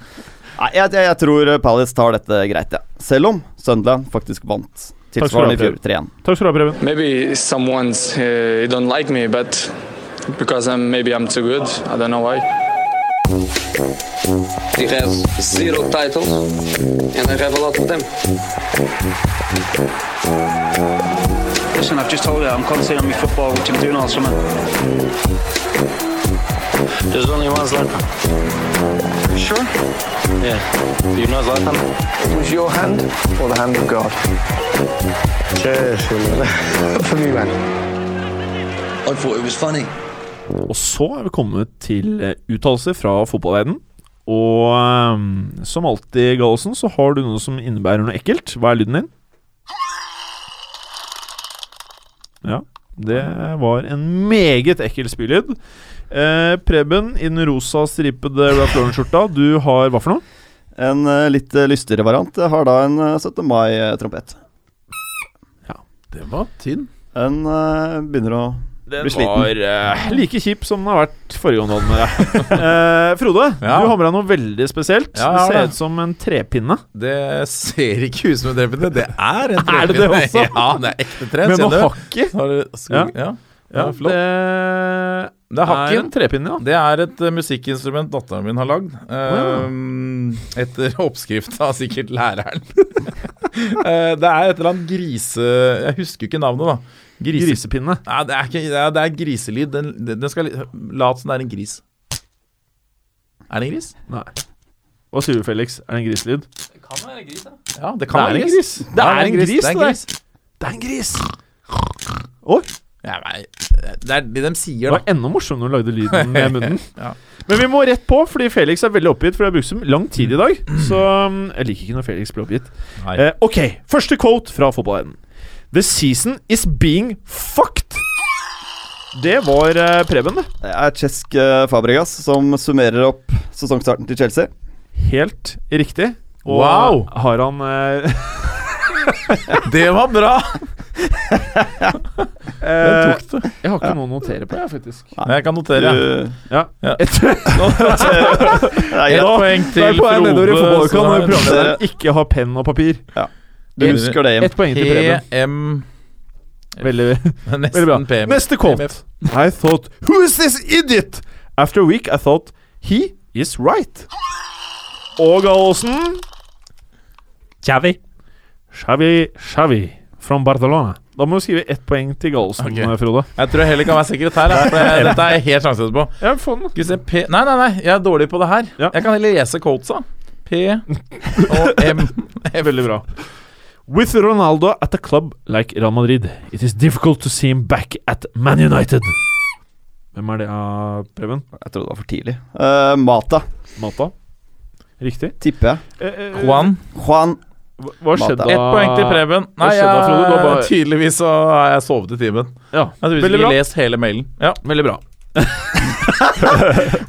[SPEAKER 5] Nei, jeg, jeg, jeg tror eh, Palace tar dette greit, ja. Selv om Sunderland faktisk vant
[SPEAKER 3] Takk skal du ha,
[SPEAKER 5] tilsvarende i fjor 3-1.
[SPEAKER 3] Takk skal du ha, Preben.
[SPEAKER 7] maybe someone's uh, don't like me but because i'm maybe i'm too good i don't know why
[SPEAKER 8] He has zero titles, and I have a lot of them.
[SPEAKER 9] Listen, I've just told you I'm concentrating on my football, which I'm doing all summer.
[SPEAKER 8] There's only one Zlatan. Sure? Yeah. Do you know Zlatan? It was your hand or the hand of God? Cheers. For me, man.
[SPEAKER 10] I thought it was funny.
[SPEAKER 3] Og så er vi kommet til eh, uttalelser fra fotballverden. Og ehm, som alltid, Gallosen, så har du noe som innebærer noe ekkelt. Hva er lyden din? Ja, det var en meget ekkel spylyd. Eh, Preben, i den rosa stripede Ralph Lauren-skjorta, du har hva for noe?
[SPEAKER 5] En eh, litt eh, lystigere variant eh, har da en eh, 17. mai-trompet.
[SPEAKER 6] Det var tynn.
[SPEAKER 5] Den eh, begynner å
[SPEAKER 3] Den
[SPEAKER 5] Blir sliten.
[SPEAKER 3] var eh, like kjip som den har vært forrige gang du hadde med deg. Eh, Frode,
[SPEAKER 6] Ja.
[SPEAKER 3] du har med deg noe veldig spesielt.
[SPEAKER 6] Ja,
[SPEAKER 3] det
[SPEAKER 6] jeg har
[SPEAKER 3] ser
[SPEAKER 6] det.
[SPEAKER 3] ut som en trepinne.
[SPEAKER 6] Det ser ikke ut som en trepinne. Det er en trepinne.
[SPEAKER 3] Er det det også?
[SPEAKER 6] Ja, det er ekte tre.
[SPEAKER 3] Med
[SPEAKER 6] ser
[SPEAKER 3] noe
[SPEAKER 6] du?
[SPEAKER 3] hakk i.
[SPEAKER 6] Har du
[SPEAKER 3] Ja.
[SPEAKER 6] skog? Ja.
[SPEAKER 3] Ja,
[SPEAKER 6] flott.
[SPEAKER 3] det,
[SPEAKER 6] Det er
[SPEAKER 3] er
[SPEAKER 6] hakken.
[SPEAKER 3] en trepinne, ja.
[SPEAKER 6] Det er et eh, musikkinstrument datteren min har lagd.
[SPEAKER 3] ja.
[SPEAKER 6] ehm, Etter oppskrift av sikkert læreren. Eh, det er et eller annet grise... Jeg husker ikke navnet, da. Grise...
[SPEAKER 3] Grisepinne.
[SPEAKER 6] Nei, det er, ikke, det er, det er griselyd. Den, den skal li- late som det er en gris. Er det en gris?
[SPEAKER 3] Nei. Hva sier du, Felix? Er det en griselyd?
[SPEAKER 6] Ja, det kan være en gris.
[SPEAKER 3] Det er en gris,
[SPEAKER 6] Det er en gris.
[SPEAKER 3] Det er en gris! Oi!
[SPEAKER 6] Ja, nei, det er det de
[SPEAKER 3] Det
[SPEAKER 6] sier,
[SPEAKER 3] var
[SPEAKER 6] da.
[SPEAKER 3] enda morsommere når du lagde lyden med munnen.
[SPEAKER 6] Ja.
[SPEAKER 3] Men vi må rett på, fordi Felix er veldig oppgitt, for det har brukt så lang tid i dag. Så um, jeg liker ikke når Felix blir oppgitt.
[SPEAKER 6] Mm. Nei.
[SPEAKER 3] Eh, ok, første quote fra fotballverdenen. The season is being fucked! Det var eh, Preben, det.
[SPEAKER 5] Det er Cesc eh, Fabregas som summerer opp sesongstarten til Chelsea.
[SPEAKER 3] Helt riktig. Og
[SPEAKER 6] Wow!
[SPEAKER 3] har han eh,
[SPEAKER 6] Det var bra!
[SPEAKER 3] eh,
[SPEAKER 6] tok det.
[SPEAKER 3] Jeg har ikke noe å notere på, jeg, faktisk.
[SPEAKER 6] Jeg kan
[SPEAKER 5] Du,
[SPEAKER 6] notere.
[SPEAKER 3] Ja.
[SPEAKER 6] Ja.
[SPEAKER 3] Et,
[SPEAKER 5] eh, Nei,
[SPEAKER 6] Ett
[SPEAKER 5] ja,
[SPEAKER 6] poeng
[SPEAKER 3] det er
[SPEAKER 6] til
[SPEAKER 3] poeng nedover i
[SPEAKER 6] Frode.
[SPEAKER 3] fotballkamp når
[SPEAKER 6] som er-
[SPEAKER 3] programlederen ikke har penn og papir.
[SPEAKER 5] du husker det, Jim.
[SPEAKER 3] Ett poeng til Preben.
[SPEAKER 6] EM
[SPEAKER 3] Veldig,
[SPEAKER 6] Nesten
[SPEAKER 3] veldig bra.
[SPEAKER 6] PM.
[SPEAKER 3] Neste quote. I thought Who is this idiot? After a week I thought He is right. Og Gallosen Xavi. Xavi, Xavi from Barcelona. Da må du skrive ett poeng til Gallosen,
[SPEAKER 6] Ok.
[SPEAKER 3] Frode.
[SPEAKER 6] Jeg tror jeg heller kan være sekretær. da, For jeg, dette er jeg helt sjanseløs på.
[SPEAKER 3] Ja, få den.
[SPEAKER 6] Skal vi se P Nei, nei, nei, jeg er dårlig på det her.
[SPEAKER 3] Ja.
[SPEAKER 6] Jeg kan heller lese quotesa. P og M.
[SPEAKER 3] Veldig bra. With Ronaldo at a club like Real Madrid, it is difficult to see him back at Man United. Hvem er det av Preben?
[SPEAKER 5] Jeg trodde det var for tidlig. Eh, Mata,
[SPEAKER 3] Mata? Riktig.
[SPEAKER 5] tipper jeg.
[SPEAKER 6] Juan.
[SPEAKER 5] Juan
[SPEAKER 3] Hva- Hva
[SPEAKER 5] Mata.
[SPEAKER 3] skjedde
[SPEAKER 5] Ett
[SPEAKER 6] Ett poeng til Preben.
[SPEAKER 3] Hva
[SPEAKER 6] Nei,
[SPEAKER 3] skjedde da, Frode? Du
[SPEAKER 6] jeg,
[SPEAKER 3] har bare-
[SPEAKER 6] tydeligvis så har jeg sovet i timen.
[SPEAKER 3] Ja,
[SPEAKER 6] Jeg har
[SPEAKER 3] Veldig
[SPEAKER 6] tydeligvis
[SPEAKER 3] bra.
[SPEAKER 6] ikke lest hele mailen. Ja.
[SPEAKER 3] Veldig bra.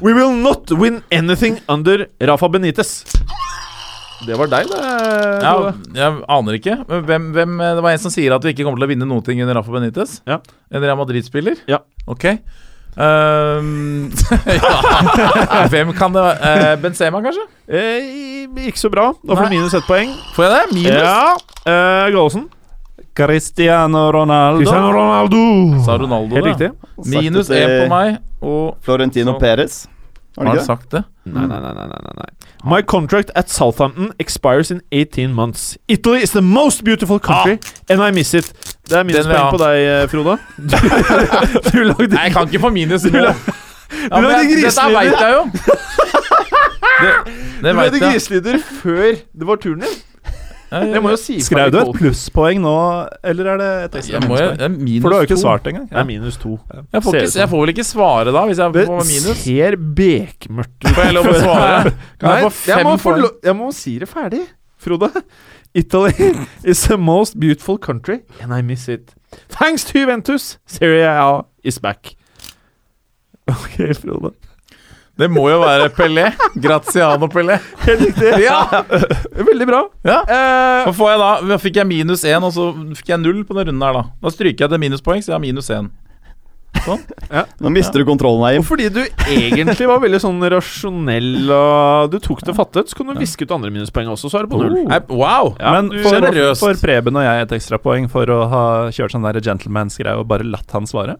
[SPEAKER 3] We will not win anything under Rafa Benitez. Det var deg, det.
[SPEAKER 6] Ja,
[SPEAKER 3] Frode.
[SPEAKER 6] jeg aner ikke. Men hvem, hvem, det var en som sier at vi ikke kommer til å vinne noen ting under Rafa Benitez.
[SPEAKER 3] Ja.
[SPEAKER 6] En Real Madrid-spiller.
[SPEAKER 3] Ja.
[SPEAKER 6] Ok. Ehm, ja. Hvem kan det være? Eh, Benzema, kanskje?
[SPEAKER 3] Eh, ikke så bra. Da får du
[SPEAKER 6] Nei.
[SPEAKER 3] minus ett poeng.
[SPEAKER 6] Får jeg det? Minus?
[SPEAKER 3] Ja. Eh, Gallosen.
[SPEAKER 4] Cristiano Ronaldo.
[SPEAKER 3] Cristiano Ronaldo.
[SPEAKER 6] Sa Ronaldo
[SPEAKER 3] Helt
[SPEAKER 6] det.
[SPEAKER 3] riktig.
[SPEAKER 6] Minus
[SPEAKER 5] Sagt det
[SPEAKER 6] én
[SPEAKER 5] til
[SPEAKER 6] på meg, og
[SPEAKER 5] Florentino
[SPEAKER 6] Så-
[SPEAKER 5] Perez. Var
[SPEAKER 6] Har han
[SPEAKER 5] det ikke det?
[SPEAKER 6] sagt det?
[SPEAKER 3] Nei, nei, nei, nei, nei, nei. My contract at Southampton expires in 18 months. Italy is the most beautiful country, and I miss it. Det er
[SPEAKER 6] Ah. Den vil jeg
[SPEAKER 3] minuspoeng
[SPEAKER 6] ha.
[SPEAKER 3] på deg, eh, Frode. Du, du lagde
[SPEAKER 6] Nei, jeg kan ikke få minus nå. Ja,
[SPEAKER 3] Du
[SPEAKER 6] men
[SPEAKER 3] lagde
[SPEAKER 6] jeg- Dette
[SPEAKER 3] griselyder.
[SPEAKER 6] veit jeg jo. Det, det
[SPEAKER 3] Du lagde
[SPEAKER 6] veit jeg.
[SPEAKER 3] griselyder før det var turen din.
[SPEAKER 6] Ja, ja,
[SPEAKER 3] Jeg må jo si fra
[SPEAKER 4] Skrev du
[SPEAKER 3] til
[SPEAKER 4] et
[SPEAKER 3] Colt.
[SPEAKER 4] plusspoeng nå, eller er det et ekstra
[SPEAKER 6] Jeg må jo,
[SPEAKER 4] minuspoeng?
[SPEAKER 6] det er minus
[SPEAKER 4] For du har jo
[SPEAKER 6] to.
[SPEAKER 4] ikke svart engang.
[SPEAKER 3] Det er minus to.
[SPEAKER 6] Jeg får, ikke, jeg får vel ikke svare da, hvis jeg
[SPEAKER 3] Det
[SPEAKER 6] får minus?
[SPEAKER 3] ser bekmørkt ut.
[SPEAKER 6] Får jeg lov å svare? Kan jeg få
[SPEAKER 3] jeg,
[SPEAKER 6] fem
[SPEAKER 3] må få
[SPEAKER 6] poeng?
[SPEAKER 3] lo- jeg må si det ferdig, Frode. Italy is the most beautiful country, and I miss it. Thanks to Juventus, Serie A is back. Ok, Frode.
[SPEAKER 6] Det må jo være Pelé. Graziano Pelé.
[SPEAKER 3] Helt riktig.
[SPEAKER 6] Ja!
[SPEAKER 3] Veldig bra.
[SPEAKER 6] ja.
[SPEAKER 3] Eh,
[SPEAKER 6] Så får jeg da, da fikk jeg minus én, og så fikk jeg null på den runden her, da. Da stryker jeg til minuspoeng, så jeg har minus én.
[SPEAKER 5] Nå mister du kontrollen,
[SPEAKER 3] og
[SPEAKER 5] Eim.
[SPEAKER 3] fordi du egentlig var veldig sånn rasjonell og du tok det fattet, så kan du viske ut andre minuspoeng også, så er det på null.
[SPEAKER 6] Nei, Wow!
[SPEAKER 3] Ja,
[SPEAKER 4] Men
[SPEAKER 3] du-
[SPEAKER 4] for,
[SPEAKER 6] Generøst.
[SPEAKER 4] for Preben og jeg et ekstrapoeng for å ha kjørt sånn der gentleman-greie og bare latt han svare.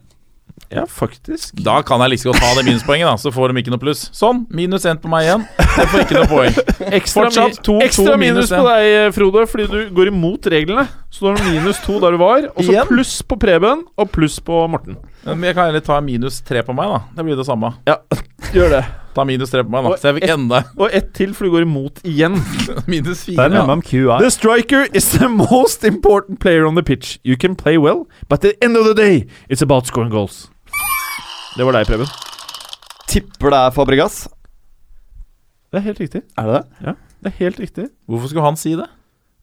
[SPEAKER 3] ja, faktisk.
[SPEAKER 6] Da kan jeg like så godt ta det minuspoenget, da. Så får de ikke noe pluss. Sånn. Minus én på meg igjen. Jeg får ikke noe poeng.
[SPEAKER 3] Ekstra,
[SPEAKER 6] Fortsatt to-
[SPEAKER 3] ekstra
[SPEAKER 6] to
[SPEAKER 3] minus på
[SPEAKER 6] minus
[SPEAKER 3] deg, eh, Frode, fordi du går imot reglene. Så du har minus to der du var, og så
[SPEAKER 6] Igjen?
[SPEAKER 3] pluss på Preben og pluss på Morten.
[SPEAKER 6] Men jeg kan heller ta minus tre på meg, da. Det blir det samme.
[SPEAKER 3] Ja, gjør det.
[SPEAKER 6] Ta minus tre på meg, da. Så jeg fikk enda
[SPEAKER 3] Og ett til, for du går imot igjen.
[SPEAKER 6] minus
[SPEAKER 4] Der
[SPEAKER 6] fire.
[SPEAKER 4] minner jeg meg om QI.
[SPEAKER 3] The striker is the most important player on the pitch. You can play well, but at the end of the day, it's about scoring goals. Det var deg, Preben.
[SPEAKER 5] Tipper det er Fabregas.
[SPEAKER 3] Det er helt riktig.
[SPEAKER 5] Er det det?
[SPEAKER 3] Det er helt riktig.
[SPEAKER 6] Hvorfor skulle han si det?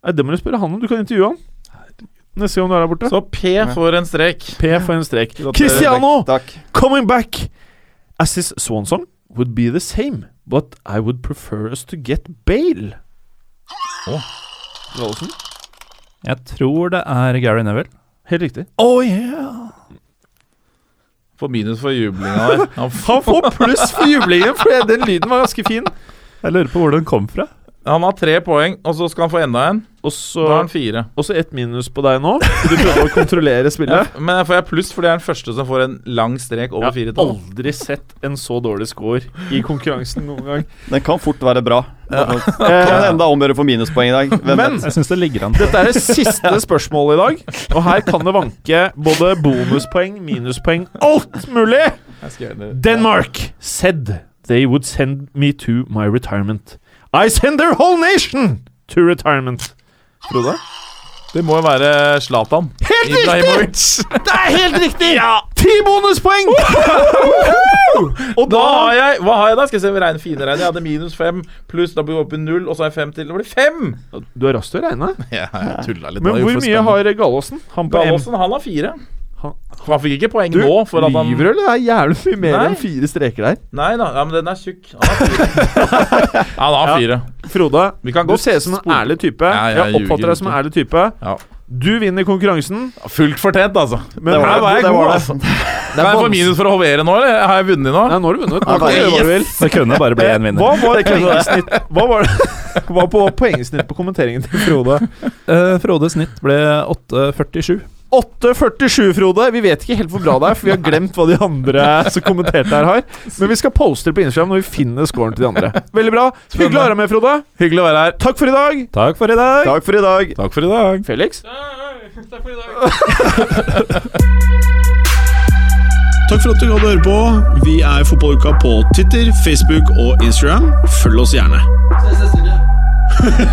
[SPEAKER 3] Nei, det må du spørre han om. Du kan intervjue han. Neste gang du er der borte.
[SPEAKER 6] Så P får en strek.
[SPEAKER 3] P for en strek. Cristiano!
[SPEAKER 5] Takk.
[SPEAKER 3] Coming back as his swan song would be the same, but I would prefer us to get bail.
[SPEAKER 6] Åh.
[SPEAKER 3] Gallosen?
[SPEAKER 4] Jeg tror det er Gary Neville.
[SPEAKER 3] Helt riktig.
[SPEAKER 4] Oh yeah!
[SPEAKER 6] Får minus for jublinga der. Han f-
[SPEAKER 3] Han får pluss for jublingen, for den lyden var ganske fin.
[SPEAKER 4] Jeg lurer på hvor den kom fra.
[SPEAKER 6] Han har tre poeng, og så skal han få enda en.
[SPEAKER 3] Og
[SPEAKER 6] Da
[SPEAKER 3] så
[SPEAKER 6] har han fire.
[SPEAKER 3] og så ett minus på deg nå. Du prøver å kontrollere spillet.
[SPEAKER 6] Men jeg får jeg pluss, for det er den første som får en lang strek
[SPEAKER 3] Jeg
[SPEAKER 6] over fire
[SPEAKER 3] har
[SPEAKER 6] tall.
[SPEAKER 3] aldri sett en så dårlig score i konkurransen noen gang.
[SPEAKER 5] Den kan fort være bra. Kan
[SPEAKER 3] Eh,
[SPEAKER 5] enda omgjøre for minuspoeng i dag. Hvem
[SPEAKER 3] Men-
[SPEAKER 5] vet?
[SPEAKER 4] Jeg syns det ligger an til
[SPEAKER 3] Dette er det siste spørsmålet i dag, og her kan det vanke både bonuspoeng, minuspoeng, alt mulig! Denmark said they would send me to my retirement. I send their whole nation to retirement. Frode?
[SPEAKER 6] Det må jo være Zlatan.
[SPEAKER 3] Helt
[SPEAKER 6] Ibrahimovic.
[SPEAKER 3] Det er helt riktig! Ja. Ti bonuspoeng! Og
[SPEAKER 6] Da
[SPEAKER 3] da
[SPEAKER 6] har jeg Hva har jeg da? Skal jeg se regne fine regn. Jeg hadde minus fem pluss, da blir vi oppe i null, og så har jeg fem til. Det blir fem!
[SPEAKER 3] Du er rask til å regne.
[SPEAKER 6] Jeg tulla litt.
[SPEAKER 3] Men hvor mye har Gallåsen? Han på M.
[SPEAKER 6] Gallosen, han har fire.
[SPEAKER 3] Han-
[SPEAKER 6] Han fikk ikke poeng
[SPEAKER 3] Du
[SPEAKER 6] nå for at han
[SPEAKER 3] lyver, eller? Det er jævlig mye mer
[SPEAKER 6] Nei.
[SPEAKER 3] enn fire streker der.
[SPEAKER 6] Nei da, ja, men den er tjukk. Han har fire. han har fire.
[SPEAKER 3] Frode,
[SPEAKER 6] Vi kan
[SPEAKER 3] du
[SPEAKER 6] godt
[SPEAKER 3] ser ut som en
[SPEAKER 6] spole-
[SPEAKER 3] ærlig type.
[SPEAKER 6] Ja, jeg
[SPEAKER 3] Jeg
[SPEAKER 6] ljuger
[SPEAKER 3] oppfatter deg som en
[SPEAKER 6] ikke.
[SPEAKER 3] ærlig type.
[SPEAKER 6] Ja.
[SPEAKER 3] Du vinner konkurransen.
[SPEAKER 6] Fullt fortjent, altså.
[SPEAKER 3] Men
[SPEAKER 5] var
[SPEAKER 6] her
[SPEAKER 5] det.
[SPEAKER 6] var jeg
[SPEAKER 5] Det
[SPEAKER 6] god,
[SPEAKER 5] var det.
[SPEAKER 6] altså. Kan jeg få minus for å hovere nå, eller? Har jeg vunnet nå?
[SPEAKER 3] Nei, nå har du vunnet. Nå kan
[SPEAKER 5] Ja,
[SPEAKER 3] du gjøre hva du vil.
[SPEAKER 4] Det kunne bare bli én vinner.
[SPEAKER 3] Hva var poengsnitt Hva var det Hva var på poengsnitt på kommenteringen til Frode?
[SPEAKER 4] Eh, Frodes snitt ble 8,47.
[SPEAKER 3] 8.47, Frode. Vi vet ikke helt hvor bra det er, for vi har glemt hva de andre som kommenterte her, har. Men vi skal poste det på Instagram når vi finner scoren til de andre. Veldig bra. Hyggelig å være med, Frode.
[SPEAKER 4] Hyggelig å være her.
[SPEAKER 3] Takk for i dag.
[SPEAKER 4] Takk for i dag.
[SPEAKER 5] Takk for i dag.
[SPEAKER 4] Takk for i dag.
[SPEAKER 3] Felix?
[SPEAKER 11] Takk for i dag.
[SPEAKER 1] Takk for at du gikk og hørte på. Vi er Fotballuka på Twitter, Facebook og Instagram. Følg oss gjerne.
[SPEAKER 8] Ses neste uke.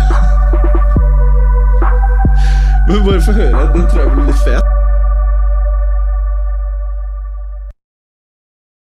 [SPEAKER 1] Men bare få høre. Den tror jeg blir litt fet.